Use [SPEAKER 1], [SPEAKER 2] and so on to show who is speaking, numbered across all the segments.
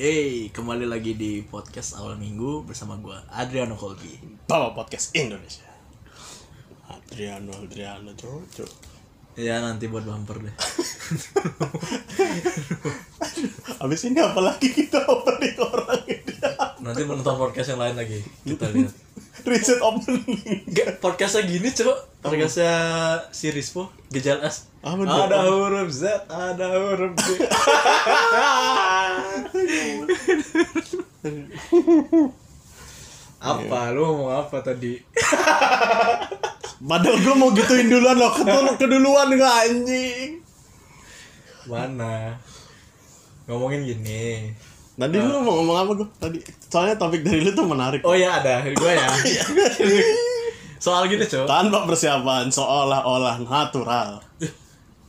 [SPEAKER 1] Hey, kembali lagi di podcast awal minggu bersama gue Adriano Kolgi.
[SPEAKER 2] Bawa Podcast Indonesia. Adriano, Adriano, Jojo.
[SPEAKER 1] Ya nanti buat bumper deh.
[SPEAKER 2] Abis ini apa lagi kita opening orang ini?
[SPEAKER 1] Nanti menonton podcast yang lain lagi kita lihat.
[SPEAKER 2] Reset opening.
[SPEAKER 1] Gak, podcastnya gini coba. Podcastnya si Rispo Gejala S.
[SPEAKER 2] Ah, bener.
[SPEAKER 1] ada huruf Z, ada huruf D. apa lu mau apa tadi?
[SPEAKER 2] Padahal gue mau gituin duluan loh, ketul keduluan nggak anjing.
[SPEAKER 1] Mana? Ngomongin gini.
[SPEAKER 2] Tadi lu mau ngomong apa gue? Tadi soalnya topik dari lu tuh menarik.
[SPEAKER 1] Oh ya ada gue ya. Soal gitu, gini coba.
[SPEAKER 2] Tanpa Kan, persiapan, seolah-olah natural.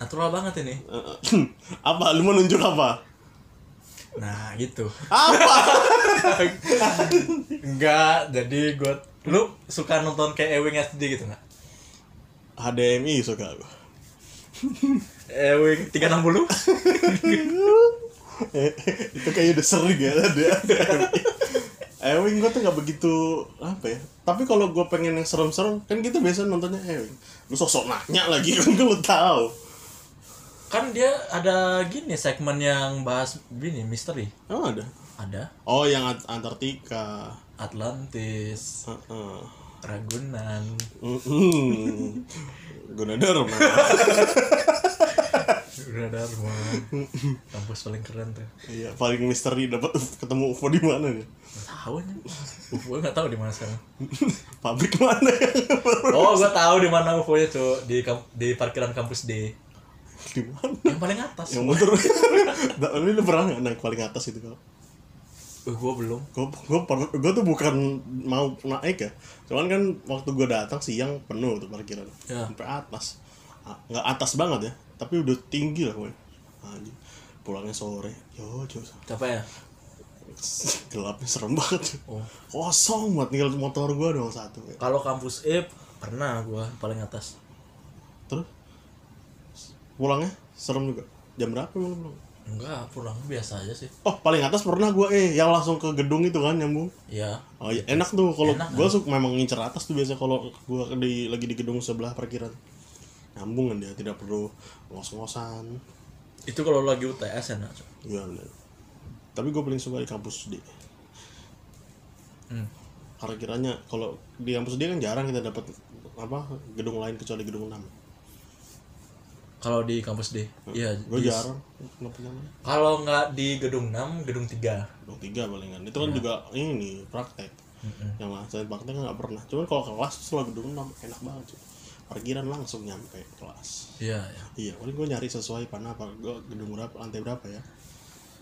[SPEAKER 1] natural banget ini
[SPEAKER 2] Eh, apa lu mau nunjuk apa?
[SPEAKER 1] nah gitu
[SPEAKER 2] Apa?
[SPEAKER 1] enggak jadi gue lu suka nonton kayak Ewing SD gitu nggak
[SPEAKER 2] HDMI suka gue.
[SPEAKER 1] Ewing 360
[SPEAKER 2] Eh, itu kayaknya udah sering ya ada Ewing gue tuh nggak begitu apa ya tapi kalau gue pengen yang serem-serem kan kita biasa nontonnya Ewing lu sosok nanya lagi kan gue tahu
[SPEAKER 1] kan dia ada gini segmen yang bahas gini misteri
[SPEAKER 2] emang ada
[SPEAKER 1] ada
[SPEAKER 2] oh yang Ant- Antartika
[SPEAKER 1] Atlantis
[SPEAKER 2] Heeh.
[SPEAKER 1] Ragunan
[SPEAKER 2] Mm-mm. Gunadarma
[SPEAKER 1] Gunadarma kampus paling keren tuh
[SPEAKER 2] iya paling misteri dapat ketemu UFO di mana ya
[SPEAKER 1] Nggak tahu nih UFO nggak tahu di mana sekarang
[SPEAKER 2] pabrik mana ya
[SPEAKER 1] oh gue tahu di mana UFO nya tuh di kamp- di parkiran kampus D
[SPEAKER 2] di mana
[SPEAKER 1] yang paling atas
[SPEAKER 2] yang motor tapi lu pernah nggak naik paling atas itu
[SPEAKER 1] gue
[SPEAKER 2] kalau
[SPEAKER 1] Uh, belum
[SPEAKER 2] gue gue gue tuh bukan mau naik ya cuman kan waktu gue datang siang penuh tuh parkiran
[SPEAKER 1] Ya.
[SPEAKER 2] sampai atas A- nggak atas banget ya tapi udah tinggi lah gue Anjing. pulangnya sore yo jo
[SPEAKER 1] capek ya
[SPEAKER 2] gelapnya serem banget
[SPEAKER 1] Oh.
[SPEAKER 2] kosong banget tinggal motor gue doang satu ya.
[SPEAKER 1] Kalau kampus E pernah gua paling atas.
[SPEAKER 2] terus pulangnya serem juga jam berapa malam pulang?
[SPEAKER 1] Enggak, pulang biasa aja sih.
[SPEAKER 2] oh paling atas pernah gue eh yang langsung ke gedung itu kan nyambung
[SPEAKER 1] Iya.
[SPEAKER 2] Oh iya, enak tuh kalau
[SPEAKER 1] Enak,
[SPEAKER 2] gua suka memang ngincer atas tuh biasa kalau gua di lagi di gedung sebelah parkiran. Nyambung kan dia tidak perlu ngos-ngosan.
[SPEAKER 1] Itu kalau lagi UTS enak. Cok.
[SPEAKER 2] Iya bener. Tapi gua paling suka di kampus D.
[SPEAKER 1] Hmm.
[SPEAKER 2] Karena kiranya kalau di kampus D kan jarang kita dapat apa gedung lain kecuali gedung 6.
[SPEAKER 1] Kalau di kampus D. Iya.
[SPEAKER 2] Gua
[SPEAKER 1] di-
[SPEAKER 2] jarang kenapa namanya?
[SPEAKER 1] Kalau nggak di gedung 6, gedung 3.
[SPEAKER 2] Gedung 3 palingan. Itu kan
[SPEAKER 1] Iya.
[SPEAKER 2] juga ini praktek. Yang langsung praktek kan nggak pernah. Cuman kalau kelas tuh selalu gedung 6 enak banget. cuy. Parkiran langsung nyampe kelas.
[SPEAKER 1] Iya, iya.
[SPEAKER 2] Iya, paling gue nyari sesuai panah apa gue gedung berapa, lantai berapa ya?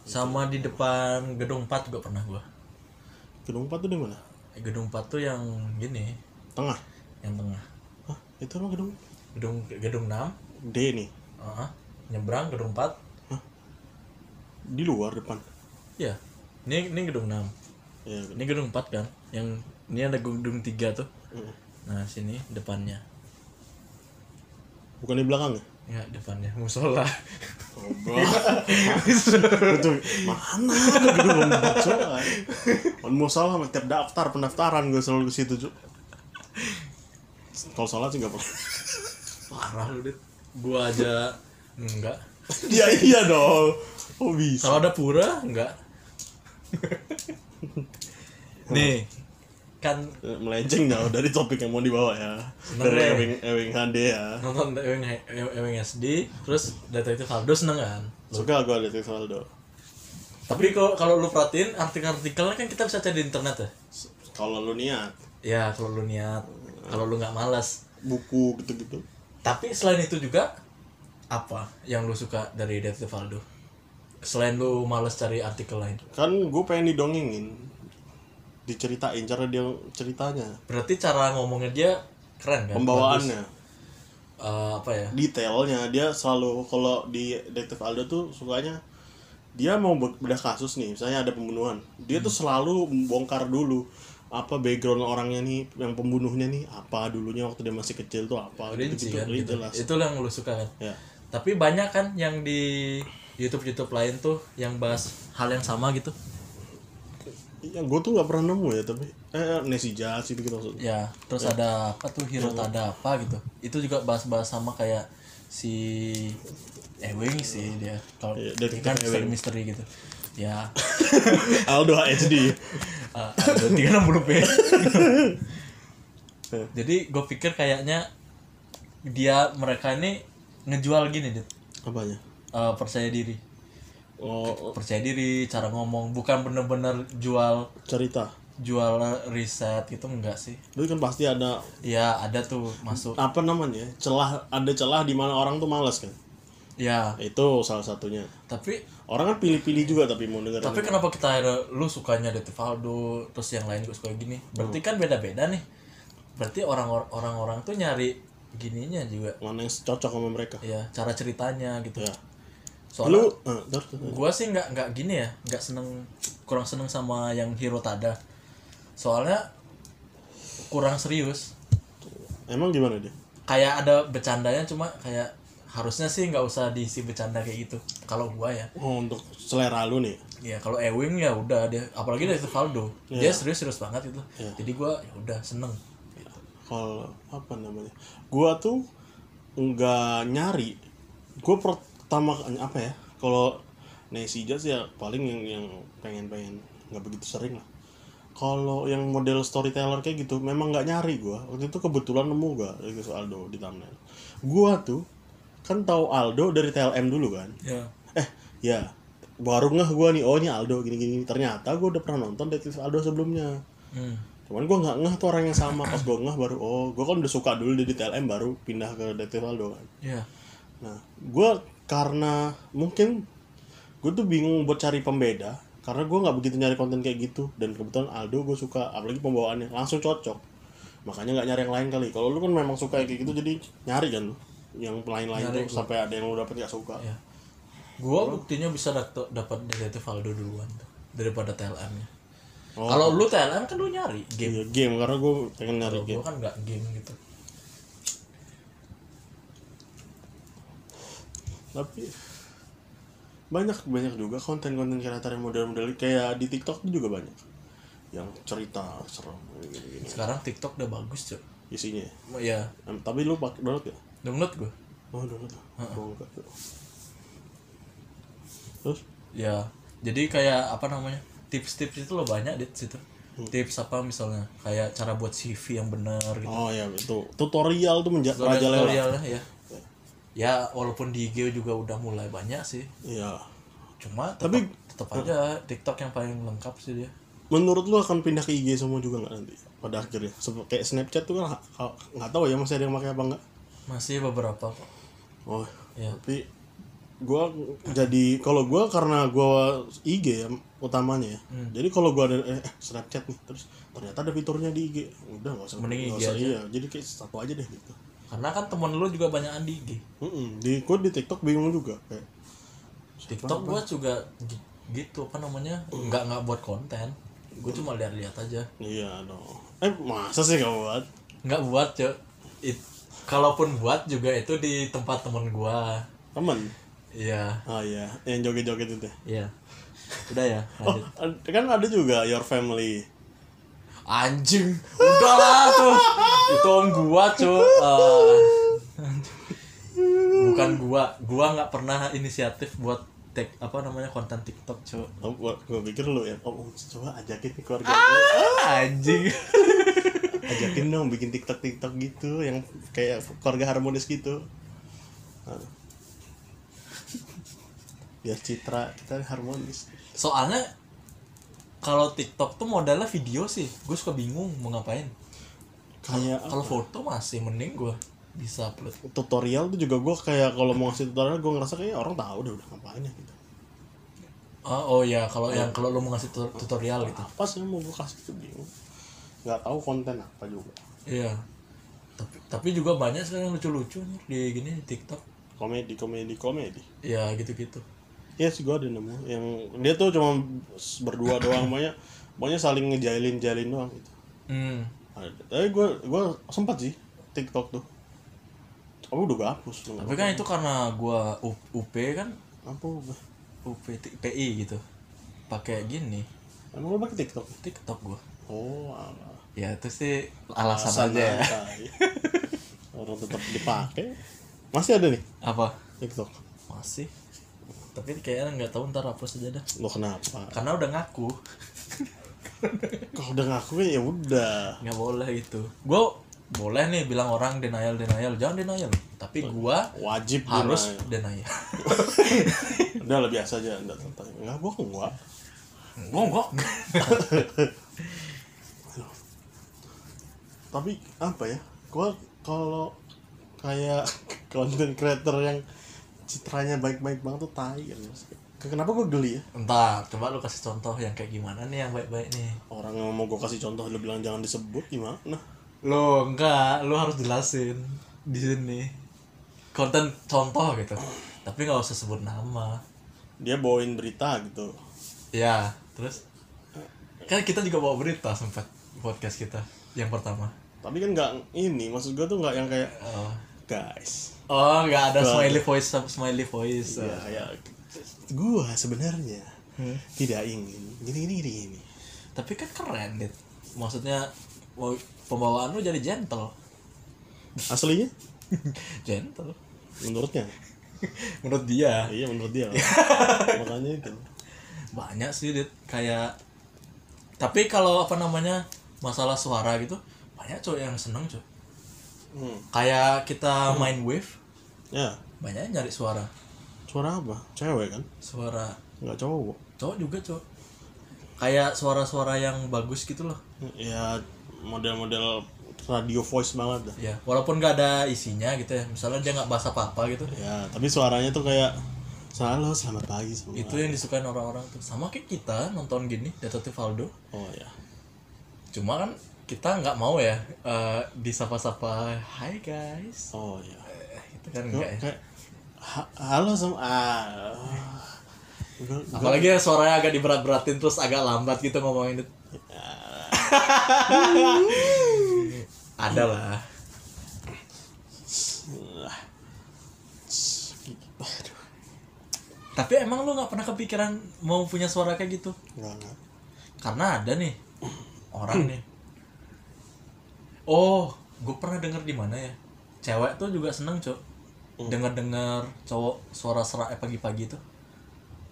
[SPEAKER 1] Sama di depan gedung 4 juga pernah gua.
[SPEAKER 2] Gedung 4 tuh di mana?
[SPEAKER 1] Eh, Gedung 4 tuh yang gini,
[SPEAKER 2] Tengah.
[SPEAKER 1] yang tengah.
[SPEAKER 2] Hah, itu emang gedung
[SPEAKER 1] Gedung gedung 6,
[SPEAKER 2] D nih.
[SPEAKER 1] heeh. nyebrang gedung 4.
[SPEAKER 2] Di luar depan.
[SPEAKER 1] Iya. Ini ini gedung 6.
[SPEAKER 2] Ya,
[SPEAKER 1] Ini gedung 4 kan? Yang ini ada gedung 3 tuh.
[SPEAKER 2] mm.
[SPEAKER 1] Nah, sini depannya.
[SPEAKER 2] bukan di belakang ya?
[SPEAKER 1] Ya, depannya musola.
[SPEAKER 2] Itu mana ada gedung empat coy? Kan mau salah sama tiap daftar pendaftaran gue selalu ke situ cuy. Kalau salah sih nggak pernah.
[SPEAKER 1] Parah lu, Dit. Gua aja enggak.
[SPEAKER 2] Iya iya dong. Oh bisa.
[SPEAKER 1] Kalau ada pura enggak. Nih, kan
[SPEAKER 2] Eh, Melejeng jauh dari topik yang mau dibawa ya. Dari
[SPEAKER 1] Bener.
[SPEAKER 2] Ewing Ewing HD ya.
[SPEAKER 1] nonton Ewing, Ewing SD, terus detektif Aldo seneng kan?
[SPEAKER 2] Suka gue ada Saldo.
[SPEAKER 1] Tapi kalau kalau lu perhatiin artikel-artikelnya kan kita bisa cari di internet ya.
[SPEAKER 2] Kalau lu niat
[SPEAKER 1] Ya, kalau lu niat, kalau lu nggak malas.
[SPEAKER 2] buku gitu-gitu
[SPEAKER 1] Tapi selain itu juga apa yang lu suka dari detektif Aldo? Selain lu malas cari artikel lain.
[SPEAKER 2] kan gue pengen didongengin diceritain cara dia ceritanya
[SPEAKER 1] Berarti cara ngomongnya dia keren kan? Ya, Bagus.
[SPEAKER 2] pembawaannya
[SPEAKER 1] Eh, apa ya?
[SPEAKER 2] detailnya dia selalu kalau di detektif Aldo tuh sukanya dia mau be- bedah kasus nih misalnya ada pembunuhan dia tuh
[SPEAKER 1] Hmm.
[SPEAKER 2] selalu bongkar dulu apa background orangnya nih yang pembunuhnya nih apa dulunya waktu dia masih kecil tuh apa
[SPEAKER 1] Rinci
[SPEAKER 2] gitu-gitu
[SPEAKER 1] kan
[SPEAKER 2] Iya,
[SPEAKER 1] gitu.
[SPEAKER 2] jelas
[SPEAKER 1] Itu yang lu suka kan.
[SPEAKER 2] ya
[SPEAKER 1] Tapi banyak kan yang di YouTube YouTube lain tuh yang bahas hal yang sama gitu.
[SPEAKER 2] Iya, gue tuh nggak pernah nemu ya, tapi eh Nesi Jazz itu gitu maksudnya.
[SPEAKER 1] ya terus ada apa tuh Hirotada apa gitu itu juga bahas-bahas sama kayak si Ewing sih dia kalau
[SPEAKER 2] Iya,
[SPEAKER 1] dia kan
[SPEAKER 2] Detektif Ewing.
[SPEAKER 1] misteri-misteri gitu ya
[SPEAKER 2] Aldo HD.
[SPEAKER 1] Ah, tiga enam puluh kan p jadi gue pikir kayaknya dia mereka ini ngejual gini Dit.
[SPEAKER 2] Apanya?
[SPEAKER 1] Eh, percaya diri
[SPEAKER 2] Oh,
[SPEAKER 1] percaya diri cara ngomong bukan bener-bener jual
[SPEAKER 2] cerita.
[SPEAKER 1] jual riset gitu enggak sih
[SPEAKER 2] Tapi kan pasti ada
[SPEAKER 1] ya ada tuh masuk
[SPEAKER 2] apa namanya? Celah, ada celah di mana orang tuh malas kan.
[SPEAKER 1] ya
[SPEAKER 2] Itu salah satunya.
[SPEAKER 1] tapi
[SPEAKER 2] Orang kan pilih-pilih juga tapi mau denger.
[SPEAKER 1] tapi kenapa kita akhirnya lu sukanya Detektif Valdo terus yang lain gue suka gini berarti kan beda-beda nih berarti orang-orang orang-orang tuh nyari gininya juga
[SPEAKER 2] mana yang cocok sama mereka.
[SPEAKER 1] ya cara ceritanya gitu
[SPEAKER 2] Ya.
[SPEAKER 1] soalnya
[SPEAKER 2] Lu eh, ntar, ntar.
[SPEAKER 1] gua sih nggak nggak gini ya nggak seneng kurang seneng sama yang hero tada soalnya kurang serius
[SPEAKER 2] emang gimana dia?
[SPEAKER 1] kayak ada bercandanya cuma kayak harusnya sih nggak usah diisi bercanda kayak gitu kalau gua ya
[SPEAKER 2] Oh, untuk selera lu nih.
[SPEAKER 1] ya kalau Ewing ya udah dia apalagi dari Valdo
[SPEAKER 2] Iya.
[SPEAKER 1] dia serius serius banget itu jadi gua ya udah seneng
[SPEAKER 2] kalau apa namanya gua tuh nggak nyari gua pertama apa ya kalau Nancy Jazz ya paling yang yang pengen pengen nggak begitu sering lah kalau yang model storyteller kayak gitu memang nggak nyari gua waktu itu kebetulan nemu gua itu Aldo di thumbnail gua tuh kan tahu Aldo dari TLM dulu kan
[SPEAKER 1] ya
[SPEAKER 2] eh ya baru ngeh gua nih oh ini Aldo gini gini ternyata gua udah pernah nonton Detektif Aldo sebelumnya
[SPEAKER 1] hmm.
[SPEAKER 2] cuman gue nggak ngeh tuh orang yang sama pas gue ngeh baru oh gue kan udah suka dulu di TLM baru pindah ke Detektif Aldo kan
[SPEAKER 1] ya
[SPEAKER 2] nah gue karena mungkin gue tuh bingung buat cari pembeda karena gue nggak begitu nyari konten kayak gitu dan kebetulan Aldo gue suka apalagi pembawaannya langsung cocok makanya nggak nyari yang lain kali kalau lu kan memang suka yang kayak gitu jadi nyari kan lu yang lain-lain tuh sampai ada yang lu dapet gak suka
[SPEAKER 1] ya gua buktinya bisa dat- dapat dari Valdo duluan tuh, daripada TLM nya
[SPEAKER 2] Oh.
[SPEAKER 1] kalau lu TLM kan lu nyari game
[SPEAKER 2] Iya, game karena gue pengen nyari game
[SPEAKER 1] gue kan nggak game gitu
[SPEAKER 2] tapi banyak banyak juga konten-konten kreator yang model-model kayak di TikTok tuh juga banyak yang cerita serem gini-gini
[SPEAKER 1] sekarang TikTok udah bagus cuy
[SPEAKER 2] isinya
[SPEAKER 1] ya
[SPEAKER 2] Em, tapi lu pakai download ya
[SPEAKER 1] download gue
[SPEAKER 2] oh download lah Gua enggak tuh. terus
[SPEAKER 1] ya jadi kayak apa namanya tips-tips itu lo banyak di situ tips apa misalnya kayak cara buat CV yang benar gitu
[SPEAKER 2] oh ya itu Oh, tutorial tuh menjadi
[SPEAKER 1] Tutorial-
[SPEAKER 2] raja
[SPEAKER 1] tutorialnya, ya ya walaupun di IG juga udah mulai banyak sih
[SPEAKER 2] iya
[SPEAKER 1] cuma
[SPEAKER 2] Tapi-
[SPEAKER 1] tapi tetap aja TikTok yang paling lengkap sih dia
[SPEAKER 2] menurut lu akan pindah ke IG semua juga nggak nanti pada akhirnya Sep- kayak Snapchat tuh kan ha- nggak tahu ya masih ada yang pakai apa nggak
[SPEAKER 1] masih beberapa kok
[SPEAKER 2] Oh,
[SPEAKER 1] Iya.
[SPEAKER 2] tapi gue jadi kalau gue karena gue IG ya utamanya ya.
[SPEAKER 1] Hmm.
[SPEAKER 2] Jadi kalau gue ada eh, eh, Snapchat nih terus ternyata ada fiturnya di IG. Udah nggak usah
[SPEAKER 1] Mending
[SPEAKER 2] nggak
[SPEAKER 1] IG
[SPEAKER 2] usah,
[SPEAKER 1] aja.
[SPEAKER 2] iya. Jadi kayak satu aja deh gitu.
[SPEAKER 1] karena kan temen lu juga banyakan di IG
[SPEAKER 2] Mm-mm. Di gue di TikTok bingung juga kayak
[SPEAKER 1] TikTok gua juga gi- gitu apa namanya nggak nggak buat konten gue cuma lihat-lihat aja
[SPEAKER 2] iya no. Eh masa sih kamu buat?
[SPEAKER 1] nggak buat cuy It- kalaupun buat juga itu di tempat temen gua
[SPEAKER 2] Temen.
[SPEAKER 1] iya
[SPEAKER 2] Ah iya, yang joget-joget itu.
[SPEAKER 1] iya udah ya lanjut
[SPEAKER 2] Ad- Kan ada juga your family.
[SPEAKER 1] anjing udahlah tuh itu om gua cuy Eh, bukan gua gua nggak pernah inisiatif buat tek apa namanya konten TikTok cuy
[SPEAKER 2] Oh, gue pikir lu ya, oh, coba ajakin keluarga
[SPEAKER 1] Ah, anjing
[SPEAKER 2] ajakin dong bikin tiktok tiktok gitu yang kayak keluarga harmonis gitu Nah. biar citra kita harmonis
[SPEAKER 1] soalnya kalau TikTok tuh modalnya video sih gue suka bingung mau ngapain
[SPEAKER 2] kayak
[SPEAKER 1] kalau foto masih mending gua bisa upload
[SPEAKER 2] tutorial tuh juga gue kayak kalau mau ngasih tutorial gue ngerasa kayak orang tahu udah udah ngapain ya gitu
[SPEAKER 1] Oh, oh ya, kalau yang kalau lu mau ngasih tu- tutorial gitu.
[SPEAKER 2] apa sih yang mau gue kasih tuh bingung nggak tahu konten apa juga
[SPEAKER 1] Iya. Tapi tapi juga banyak sekarang yang lucu-lucu nih di gini di TikTok.
[SPEAKER 2] komedi komedi komedi
[SPEAKER 1] Ya gitu-gitu.
[SPEAKER 2] Yes, gue ada nemu yang dia tuh cuma berdua doang banyak banyak saling ngejailin jailin doang gitu
[SPEAKER 1] Hmm.
[SPEAKER 2] Ada. Eh, Tapi gue gue sempat sih TikTok tuh. Aku udah gak hapus lu.
[SPEAKER 1] Tapi kan itu karena gua U- UP kan
[SPEAKER 2] Apa?
[SPEAKER 1] UP T- PI gitu. Pakai gini.
[SPEAKER 2] Emang lu pakai TikTok?
[SPEAKER 1] TikTok gua.
[SPEAKER 2] Oh, alah.
[SPEAKER 1] Ya itu sih alasan, aja ya.
[SPEAKER 2] santai. Orang tetap dipakai. Masih ada nih
[SPEAKER 1] Apa?
[SPEAKER 2] TikTok.
[SPEAKER 1] Masih. Tapi kayaknya nggak tahu ntar hapus aja dah.
[SPEAKER 2] Lo kenapa?
[SPEAKER 1] Karena udah ngaku
[SPEAKER 2] Kalau udah ngaku ya udah.
[SPEAKER 1] nggak boleh itu. Gua boleh nih bilang orang denial denial jangan denial. Tapi gua
[SPEAKER 2] Wajib
[SPEAKER 1] harus
[SPEAKER 2] denial.
[SPEAKER 1] denial.
[SPEAKER 2] Udah lah biasa aja, enggak tentang. Enggak bohong gua.
[SPEAKER 1] Gonggong.
[SPEAKER 2] Tapi apa ya? Gua kalau kayak content creator yang citranya baik-baik banget tuh tai kan. Kenapa gua geli ya?
[SPEAKER 1] Entar, coba lu kasih contoh yang kayak gimana nih yang baik-baik nih.
[SPEAKER 2] Orang yang mau gua kasih contoh lu bilang jangan disebut gimana? Nah,
[SPEAKER 1] Lo enggak, lu harus jelasin di sini. Konten contoh gitu. Tapi nggak usah sebut nama.
[SPEAKER 2] dia bawain berita gitu.
[SPEAKER 1] Ya, terus kan kita juga bawa berita sempat podcast kita yang pertama.
[SPEAKER 2] Tapi kan nggak ini, maksud gua tuh nggak yang kayak
[SPEAKER 1] Oh,
[SPEAKER 2] guys.
[SPEAKER 1] oh nggak ada smiley voice smiley voice.
[SPEAKER 2] Ya, ya. Gua sebenarnya tidak ingin gini gini gini. gini.
[SPEAKER 1] Tapi kan keren Dit. Maksudnya wow, pembawaan lu jadi gentle.
[SPEAKER 2] Aslinya?
[SPEAKER 1] gentle.
[SPEAKER 2] Menurutnya?
[SPEAKER 1] Menurut dia.
[SPEAKER 2] Iya menurut dia. Makanya itu.
[SPEAKER 1] banyak sih Dit. kayak tapi kalau apa namanya masalah suara gitu banyak cowok yang seneng cowok
[SPEAKER 2] Hmm.
[SPEAKER 1] kayak kita main wave
[SPEAKER 2] Ya,
[SPEAKER 1] banyak yang nyari suara
[SPEAKER 2] suara apa? Cewek kan?
[SPEAKER 1] suara
[SPEAKER 2] Nggak cowok.
[SPEAKER 1] cowok juga cowok kayak suara-suara yang bagus gitu loh
[SPEAKER 2] Ya model-model radio voice banget dah.
[SPEAKER 1] ya walaupun nggak ada isinya gitu ya misalnya dia nggak bahas apa apa gitu
[SPEAKER 2] Ya, tapi suaranya tuh kayak Halo, selamat pagi semua.
[SPEAKER 1] itu yang disukain orang-orang tuh sama kayak kita nonton gini Detektif Valdo
[SPEAKER 2] Oh ya.
[SPEAKER 1] cuma kan kita nggak mau ya eh, disapa-sapa Hai guys
[SPEAKER 2] Oh ya.
[SPEAKER 1] Eh, itu kan
[SPEAKER 2] Gua
[SPEAKER 1] enggak ya
[SPEAKER 2] kayak "Ha- halo semua. Ah. Gua- gua-
[SPEAKER 1] Apalagi yang suaranya agak diberat-beratin terus agak lambat gitu ngomongin itu. Ada lah.
[SPEAKER 2] Ah. Aduh.
[SPEAKER 1] Tapi emang lu nggak pernah kepikiran mau punya suara kayak gitu?
[SPEAKER 2] Enggak, enggak.
[SPEAKER 1] Karena ada nih orang nih. Oh, gue pernah denger di mana ya? Cewek tuh juga seneng cok. Hmm. Dengar-dengar cowok suara serak eh, pagi-pagi tuh.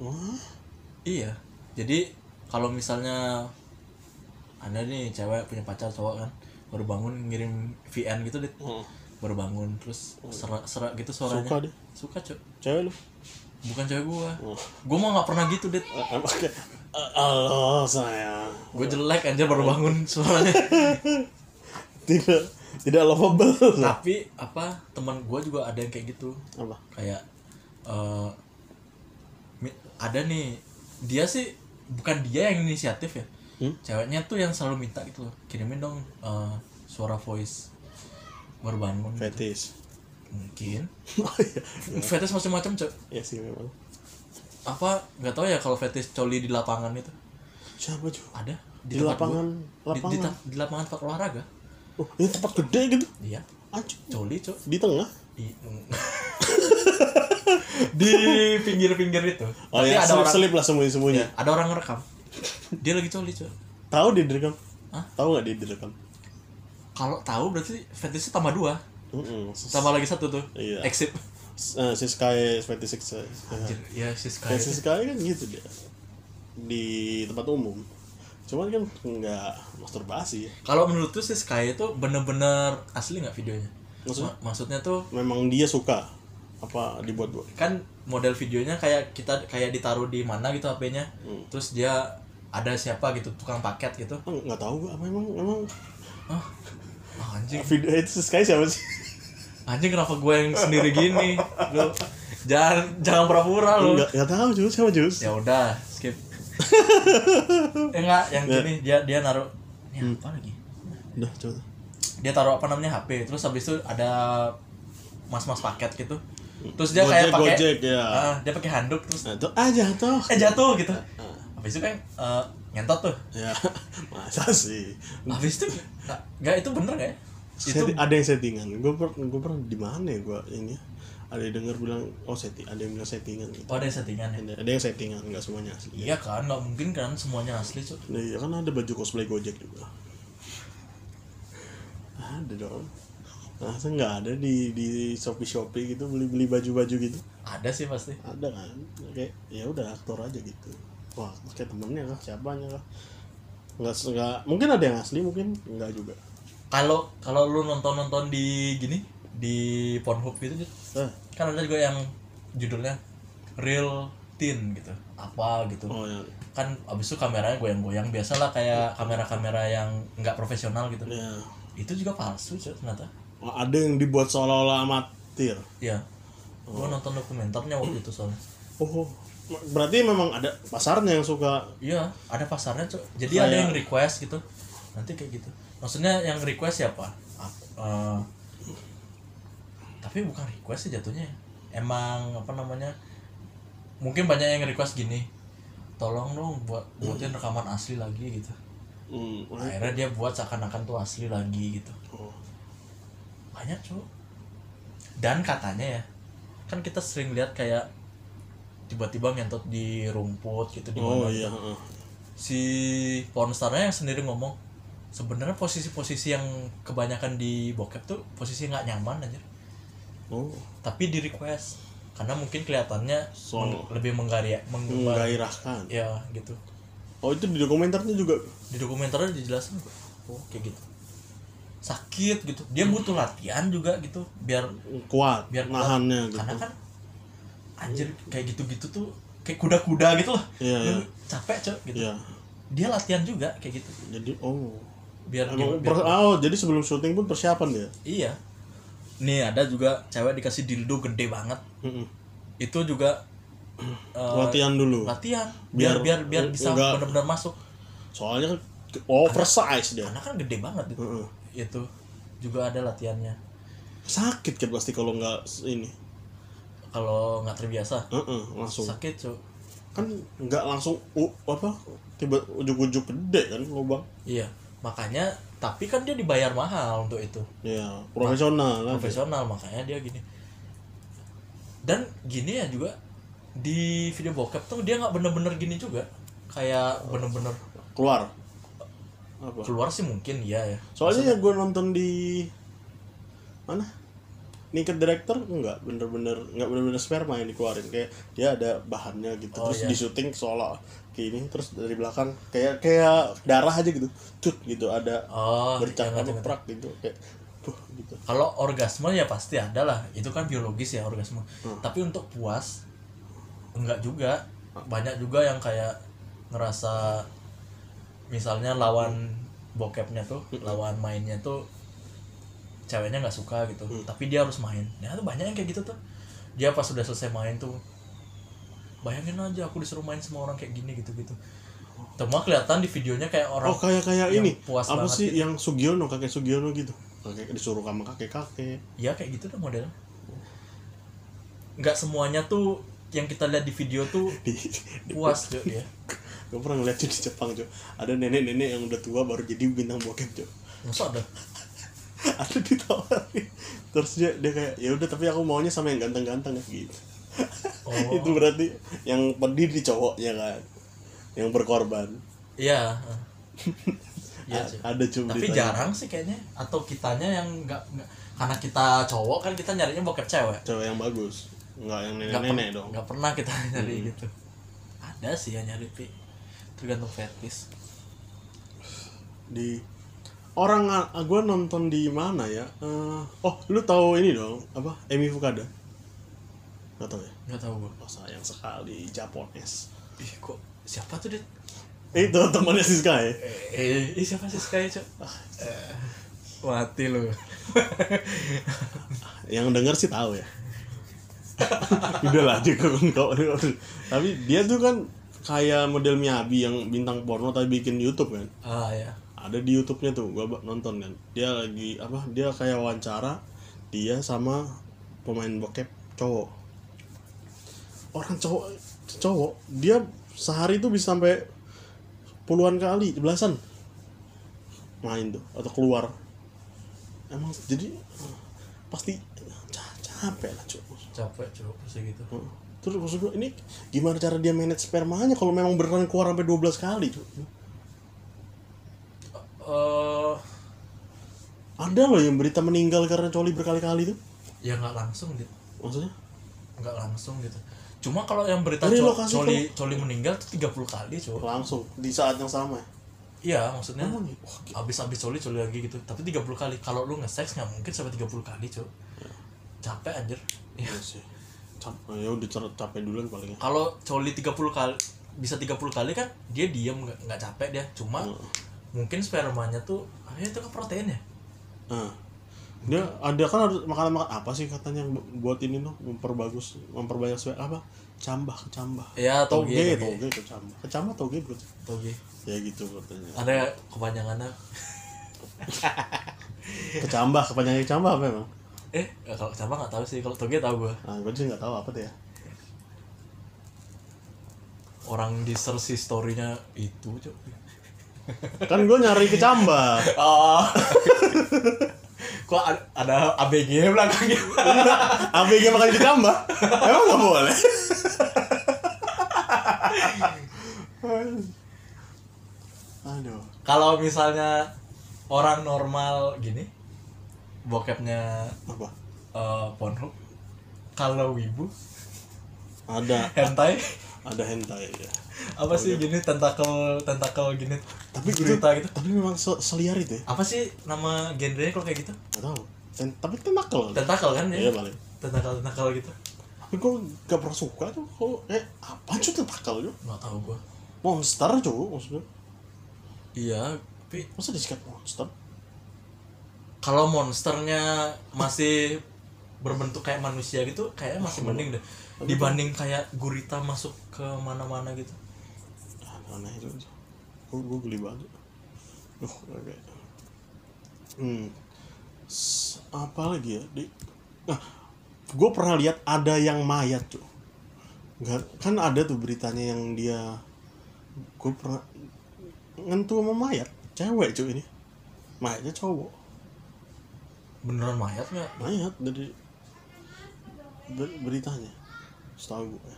[SPEAKER 2] Wah,
[SPEAKER 1] Iya. Jadi kalau misalnya ada nih cewek punya pacar cowok kan baru bangun ngirim VN gitu deh.
[SPEAKER 2] Oh.
[SPEAKER 1] Baru bangun terus serak-serak gitu suaranya.
[SPEAKER 2] iya. suka deh.
[SPEAKER 1] Suka, Cok.
[SPEAKER 2] Cewek lu.
[SPEAKER 1] Bukan cewek gua.
[SPEAKER 2] Oh.
[SPEAKER 1] Gua mah nggak pernah gitu, Dit.
[SPEAKER 2] Em- oke. Eh, Halo sayang.
[SPEAKER 1] Gua jelek aja baru bangun suaranya.
[SPEAKER 2] Tidak tidak lovable.
[SPEAKER 1] Tapi apa teman gua juga ada yang kayak gitu.
[SPEAKER 2] Apa?
[SPEAKER 1] Kayak eh mi- ada nih dia sih bukan dia yang inisiatif ya.
[SPEAKER 2] Hmm?
[SPEAKER 1] Ceweknya tuh yang selalu minta gitu loh. Kirimin dong eh, suara voice baru bangun.
[SPEAKER 2] Fetish.
[SPEAKER 1] Mungkin.
[SPEAKER 2] Oh iya.
[SPEAKER 1] Fetish macam-macam, Cok.
[SPEAKER 2] Ya sih memang.
[SPEAKER 1] Apa nggak tahu ya kalau fetish coli di lapangan itu.
[SPEAKER 2] Siapa juga?
[SPEAKER 1] Ada tempat
[SPEAKER 2] Di,
[SPEAKER 1] gua.
[SPEAKER 2] lapangan,
[SPEAKER 1] Di- Di,
[SPEAKER 2] lapangan.
[SPEAKER 1] ta- di lapangan tempat olahraga
[SPEAKER 2] Oh, ini tempat gede gitu.
[SPEAKER 1] iya
[SPEAKER 2] Anjir.
[SPEAKER 1] coli cok
[SPEAKER 2] Di tengah.
[SPEAKER 1] di di pinggir-pinggir itu
[SPEAKER 2] Oh
[SPEAKER 1] tapi
[SPEAKER 2] ya,
[SPEAKER 1] ada orang
[SPEAKER 2] selip-selip lah sembunyi-sembunyi.
[SPEAKER 1] ya, ada orang ngerekam dia lagi coli cok
[SPEAKER 2] Tahu dia direkam?
[SPEAKER 1] Hah?
[SPEAKER 2] Tahu nggak dia direkam?
[SPEAKER 1] kalau tahu berarti fetishnya tambah dua
[SPEAKER 2] Mm-mm.
[SPEAKER 1] tambah lagi satu tuh
[SPEAKER 2] Iya.
[SPEAKER 1] exit
[SPEAKER 2] Eh, si Sky eh, 26
[SPEAKER 1] Anjir, ya si Sky
[SPEAKER 2] Kayak si Sky kan gitu dia Di tempat umum Cuman kan nggak masturbasi ya
[SPEAKER 1] kalau menurut tuh si Sky itu bener-bener asli nggak videonya
[SPEAKER 2] Maksudnya?
[SPEAKER 1] Ma- maksudnya tuh
[SPEAKER 2] Memang dia suka Apa dibuat-buat
[SPEAKER 1] kan model videonya kayak kita kayak ditaruh di mana gitu HP-nya
[SPEAKER 2] Hmm.
[SPEAKER 1] terus dia ada siapa gitu tukang paket gitu
[SPEAKER 2] Ah, nggak tahu gue apa emang emang
[SPEAKER 1] Hah? Ah, anjing
[SPEAKER 2] video itu si Sky siapa sih
[SPEAKER 1] anjing kenapa gue yang sendiri gini lu jangan jangan pura-pura lu
[SPEAKER 2] nggak nggak tahu jus siapa jus
[SPEAKER 1] ya udah skip eh enggak
[SPEAKER 2] Ya.
[SPEAKER 1] yang gini dia dia naruh ini
[SPEAKER 2] Hmm.
[SPEAKER 1] apa lagi
[SPEAKER 2] udah coba
[SPEAKER 1] dia taruh apa namanya HP terus habis itu ada mas-mas paket gitu terus dia kayak pakai
[SPEAKER 2] gojek ya
[SPEAKER 1] Ah, dia pakai handuk terus
[SPEAKER 2] nah, tuh aja tuh
[SPEAKER 1] eh jatuh gitu habis itu kan eh, ngentot tuh
[SPEAKER 2] ya masa sih
[SPEAKER 1] habis itu nggak itu bener gak ya itu
[SPEAKER 2] Seti- ada yang settingan gue per gue pernah di mana ya gue ini ada yang denger bilang oh setting ada yang bilang settingan gitu.
[SPEAKER 1] Oh, ada settingan ya?
[SPEAKER 2] ada, ada yang settingan nggak semuanya asli
[SPEAKER 1] Iya kan, nggak mungkin kan semuanya asli Cuk.
[SPEAKER 2] Nah, iya kan ada baju cosplay Gojek juga. Ada dong. Masa nggak ada di di Shopee Shopee gitu beli beli baju baju gitu?
[SPEAKER 1] Ada sih pasti.
[SPEAKER 2] Ada kan? Oke, ya udah aktor aja gitu. Wah, kayak temennya lah, siapanya lah. Nggak, se- nggak, mungkin ada yang asli, mungkin nggak juga.
[SPEAKER 1] Kalau kalau lu nonton-nonton di gini di Pornhub gitu Cuk,
[SPEAKER 2] Eh,
[SPEAKER 1] kan ada juga yang judulnya Real Teen gitu. Apa gitu.
[SPEAKER 2] oh ya,
[SPEAKER 1] Kan abis itu kameranya goyang-goyang biasalah kayak kamera-kamera yang nggak profesional gitu.
[SPEAKER 2] ya.
[SPEAKER 1] Itu juga palsu Cuk, ternyata.
[SPEAKER 2] Oh, ada yang dibuat seolah-olah amatir.
[SPEAKER 1] Iya. Gua nonton dokumenternya waktu itu soalnya.
[SPEAKER 2] Oh, oh. berarti memang ada pasarnya yang suka.
[SPEAKER 1] Iya, ada pasarnya cok. Jadi
[SPEAKER 2] Kayak-
[SPEAKER 1] ada yang request gitu. Nanti kayak gitu. Maksudnya yang request siapa? Aku, eh, tapi bukan request sih jatuhnya. Emang apa namanya? Mungkin banyak yang request gini. Tolong dong buat buatin rekaman asli lagi gitu.
[SPEAKER 2] Hmm, eh.
[SPEAKER 1] Akhirnya dia buat seakan-akan tuh asli lagi gitu.
[SPEAKER 2] oh,
[SPEAKER 1] Banyak cok. Dan katanya ya, kan kita sering lihat kayak tiba-tiba ngentot di rumput gitu di
[SPEAKER 2] oh
[SPEAKER 1] mana
[SPEAKER 2] iya. heeh.
[SPEAKER 1] si pornstarnya yang sendiri ngomong sebenarnya posisi-posisi yang kebanyakan di bokep tuh posisi nggak nyaman aja
[SPEAKER 2] Oh,
[SPEAKER 1] tapi di request karena mungkin kelihatannya
[SPEAKER 2] So-
[SPEAKER 1] meng- lebih menggaria menggembar
[SPEAKER 2] menggairahkan.
[SPEAKER 1] ya gitu
[SPEAKER 2] Oh itu di dokumenternya juga.
[SPEAKER 1] di dokumenternya dijelasin kok oh kayak gitu sakit gitu dia butuh latihan juga gitu biar
[SPEAKER 2] kuat
[SPEAKER 1] biar kuat.
[SPEAKER 2] nahannya gitu.
[SPEAKER 1] karena kan anjir kayak gitu-gitu tuh kayak kuda-kuda gitu lah
[SPEAKER 2] Iya,
[SPEAKER 1] Lu
[SPEAKER 2] iya.
[SPEAKER 1] capek cok gitu
[SPEAKER 2] Iya.
[SPEAKER 1] dia latihan juga kayak gitu
[SPEAKER 2] Jadi oh.
[SPEAKER 1] biar
[SPEAKER 2] Emang
[SPEAKER 1] biar-
[SPEAKER 2] per- oh, jadi sebelum syuting pun persiapan dia.
[SPEAKER 1] Iya. Nih ada juga cewek dikasih dildo gede banget.
[SPEAKER 2] Mm-mm.
[SPEAKER 1] Itu juga eh,
[SPEAKER 2] Latihan dulu.
[SPEAKER 1] latihan
[SPEAKER 2] Biar-
[SPEAKER 1] biar biar biar bisa
[SPEAKER 2] enggak-
[SPEAKER 1] benar-benar masuk.
[SPEAKER 2] Soalnya kan ke- oversize dia.
[SPEAKER 1] Karena kan gede banget itu.
[SPEAKER 2] Heeh.
[SPEAKER 1] Itu juga ada latihannya.
[SPEAKER 2] Sakit kan pasti kalau nggak s- ini.
[SPEAKER 1] Kalau nggak terbiasa
[SPEAKER 2] Heeh, langsung.
[SPEAKER 1] sakit, Cuk.
[SPEAKER 2] Kan nggak langsung u apa tiba ujuk-ujuk gede kan lubang.
[SPEAKER 1] Iya. Makanya tapi kan dia dibayar mahal untuk itu.
[SPEAKER 2] Ya, profesional lah.
[SPEAKER 1] Profesional makanya dia gini. Dan gini ya juga di video bokep tuh dia nggak bener-bener gini juga. Kayak bener-bener
[SPEAKER 2] Keluar. Apa?
[SPEAKER 1] keluar sih mungkin ya ya.
[SPEAKER 2] Soalnya ya gue nonton di mana? Nikah director nggak bener-bener nggak bener-bener sperma yang dikeluarin kayak dia ada bahannya gitu
[SPEAKER 1] Oh, iya.
[SPEAKER 2] terus di syuting seolah kayak ini terus dari belakang kayak kayak darah aja gitu cut gitu ada
[SPEAKER 1] Oh, iya,
[SPEAKER 2] bercak apa
[SPEAKER 1] ngerti, ngerti.
[SPEAKER 2] prak gitu kayak buh gitu
[SPEAKER 1] Kalau orgasme ya pasti ada lah. Itu kan biologis ya orgasme. Tapi untuk puas enggak juga. Banyak juga yang kayak ngerasa misalnya lawan bokepnya tuh, lawan mainnya tuh ceweknya nggak suka gitu. Tapi dia harus main. Nah, tuh banyak yang kayak gitu tuh. Dia pas sudah selesai main tuh bayangin aja aku disuruh main sama orang kayak gini gitu-gitu. Cuma kelihatan di videonya kayak orang
[SPEAKER 2] oh kayak kayak
[SPEAKER 1] yang
[SPEAKER 2] ini
[SPEAKER 1] puas
[SPEAKER 2] apa
[SPEAKER 1] banget gitu.
[SPEAKER 2] sih yang Sugiono kakek Sugiono gitu kakek disuruh sama kakek kakek
[SPEAKER 1] ya kayak gitu dah modelnya nggak semuanya tuh yang kita lihat di video tuh
[SPEAKER 2] di, di
[SPEAKER 1] puas cuy ya
[SPEAKER 2] gue pernah ngeliat tuh di Jepang cuy ada nenek-nenek yang udah tua baru jadi bintang bokep cuy
[SPEAKER 1] masa ada
[SPEAKER 2] ada ditawarin terus dia dia kayak ya udah tapi aku maunya sama yang ganteng-ganteng gitu
[SPEAKER 1] Oh.
[SPEAKER 2] itu berarti yang pedih di cowoknya kan yang berkorban
[SPEAKER 1] iya eh. iya
[SPEAKER 2] A-
[SPEAKER 1] cuy
[SPEAKER 2] ada cuma
[SPEAKER 1] tapi jarang sih kayaknya atau kitanya yang nggak nggak- karena kita cowok kan kita nyarinya bokep cewek
[SPEAKER 2] cowok yang bagus nggak yang
[SPEAKER 1] nggak per-
[SPEAKER 2] nenek-nenek dong Hmm.
[SPEAKER 1] nggak pernah kita nyari gitu ada sih yang nyari tapi tergantung fetis
[SPEAKER 2] di orang gue nonton di mana ya Eh, oh lu tahu ini dong apa Emi Fukada nggak tahu ya
[SPEAKER 1] nggak tahu gue
[SPEAKER 2] oh sayang sekali Japones
[SPEAKER 1] ih kok siapa tuh dit
[SPEAKER 2] itu temannya Siska ya
[SPEAKER 1] eh, eh, ih, siapa sih sekali cuy eh, mati lu
[SPEAKER 2] yang denger sih tahu ya udah lah aja kok kok- kok. tapi dia tuh kan kayak model Miyabi yang bintang porno tapi bikin YouTube kan
[SPEAKER 1] ah ya
[SPEAKER 2] ada di YouTube-nya tuh gua ba- nonton kan dia lagi apa dia kayak wawancara dia sama pemain bokep cowok orang cowok cowok dia sehari tuh bisa sampai puluhan kali belasan main tuh atau keluar emang jadi pasti ca- ca- capek lah cuy
[SPEAKER 1] capek cuy pasti gitu
[SPEAKER 2] Terus maksud gue ini gimana cara dia manage spermanya kalau memang beneran keluar sampai 12 kali? Cuk?
[SPEAKER 1] eh
[SPEAKER 2] Ada loh yang berita meninggal karena coli berkali-kali tuh.
[SPEAKER 1] ya nggak langsung gitu
[SPEAKER 2] Maksudnya?
[SPEAKER 1] nggak langsung gitu cuma kalau yang berita
[SPEAKER 2] Dari
[SPEAKER 1] co-
[SPEAKER 2] lokasi
[SPEAKER 1] coli coli meninggal tuh 30 kali cuy
[SPEAKER 2] Oh, Langsung di saat yang sama. ya?
[SPEAKER 1] iya maksudnya
[SPEAKER 2] Emang gitu? Wah, gila.
[SPEAKER 1] abis abis coli coli lagi gitu tapi 30 kali kalau lu nge-sex nggak mungkin sampai 30 kali cuy capek anjir Iya.
[SPEAKER 2] Iya sih. Capek ya udah cer- capek duluan ya. palingnya.
[SPEAKER 1] kalau coli 30 kali bisa 30 kali kan dia diam nggak nggak capek dia cuma
[SPEAKER 2] Oh.
[SPEAKER 1] mungkin spermanya tuh ah, itu kan protein ya
[SPEAKER 2] Nah. Dia ada kan harus makanan-makanan apa sih katanya yang bu- buat ini tuh memperbagus memperbanyak sperma apa? Cambah, kecambah.
[SPEAKER 1] ya
[SPEAKER 2] Iya, Toge,
[SPEAKER 1] toge toge
[SPEAKER 2] toge, kecambah. Kecambah toge, Bro.
[SPEAKER 1] toge
[SPEAKER 2] Ya gitu katanya.
[SPEAKER 1] ada kepanjangannya
[SPEAKER 2] Kecambah, kepanjangan kecambah apa emang?
[SPEAKER 1] eh kalau sama nggak tahu sih kalau toge tahu gua
[SPEAKER 2] Nah, gue juga nggak tahu apa tuh ya.
[SPEAKER 1] orang di search historinya itu cok
[SPEAKER 2] Kan gue nyari kecambah.
[SPEAKER 1] oh kok ada, ada ABG belakangnya
[SPEAKER 2] ABG makan kecambah? Emang nggak boleh? Aduh.
[SPEAKER 1] kalau misalnya orang normal gini bokepnya
[SPEAKER 2] Apa?
[SPEAKER 1] eh Pornhub kalau wibu
[SPEAKER 2] Ada
[SPEAKER 1] hentai
[SPEAKER 2] ada hentai ya.
[SPEAKER 1] apa sih gini tentakel tentakel gini
[SPEAKER 2] Tapi
[SPEAKER 1] Cerita
[SPEAKER 2] itu-
[SPEAKER 1] gitu.
[SPEAKER 2] Tapi memang se- seliar itu ya.
[SPEAKER 1] apa sih nama genrenya kalau kayak gitu
[SPEAKER 2] Gak tahu. Ten- tapi tentakel.
[SPEAKER 1] tentakel kan ya
[SPEAKER 2] Iya paling.
[SPEAKER 1] tentakel tentakel gitu
[SPEAKER 2] Tapi gue gak pernah suka tuh. Kalau eh apa cuy tentakel cuy?
[SPEAKER 1] nggak tahu gua
[SPEAKER 2] Monster cuy maksudnya.
[SPEAKER 1] iya tapi
[SPEAKER 2] Masa disikat monster?
[SPEAKER 1] kalau monsternya masih berbentuk kayak manusia gitu kayaknya masih mending
[SPEAKER 2] Oh,
[SPEAKER 1] deh
[SPEAKER 2] gitu?
[SPEAKER 1] dibanding kayak gurita masuk ke mana-mana gitu
[SPEAKER 2] aneh itu gue gue geli banget Duh, oke hmm S- apa lagi ya di nah gue pernah lihat ada yang mayat tuh nggak kan ada tuh beritanya yang dia gue pernah ngentu sama mayat cewek cuy ini mayatnya cowok
[SPEAKER 1] beneran mayat nggak
[SPEAKER 2] mayat dari ber- beritanya setahu gue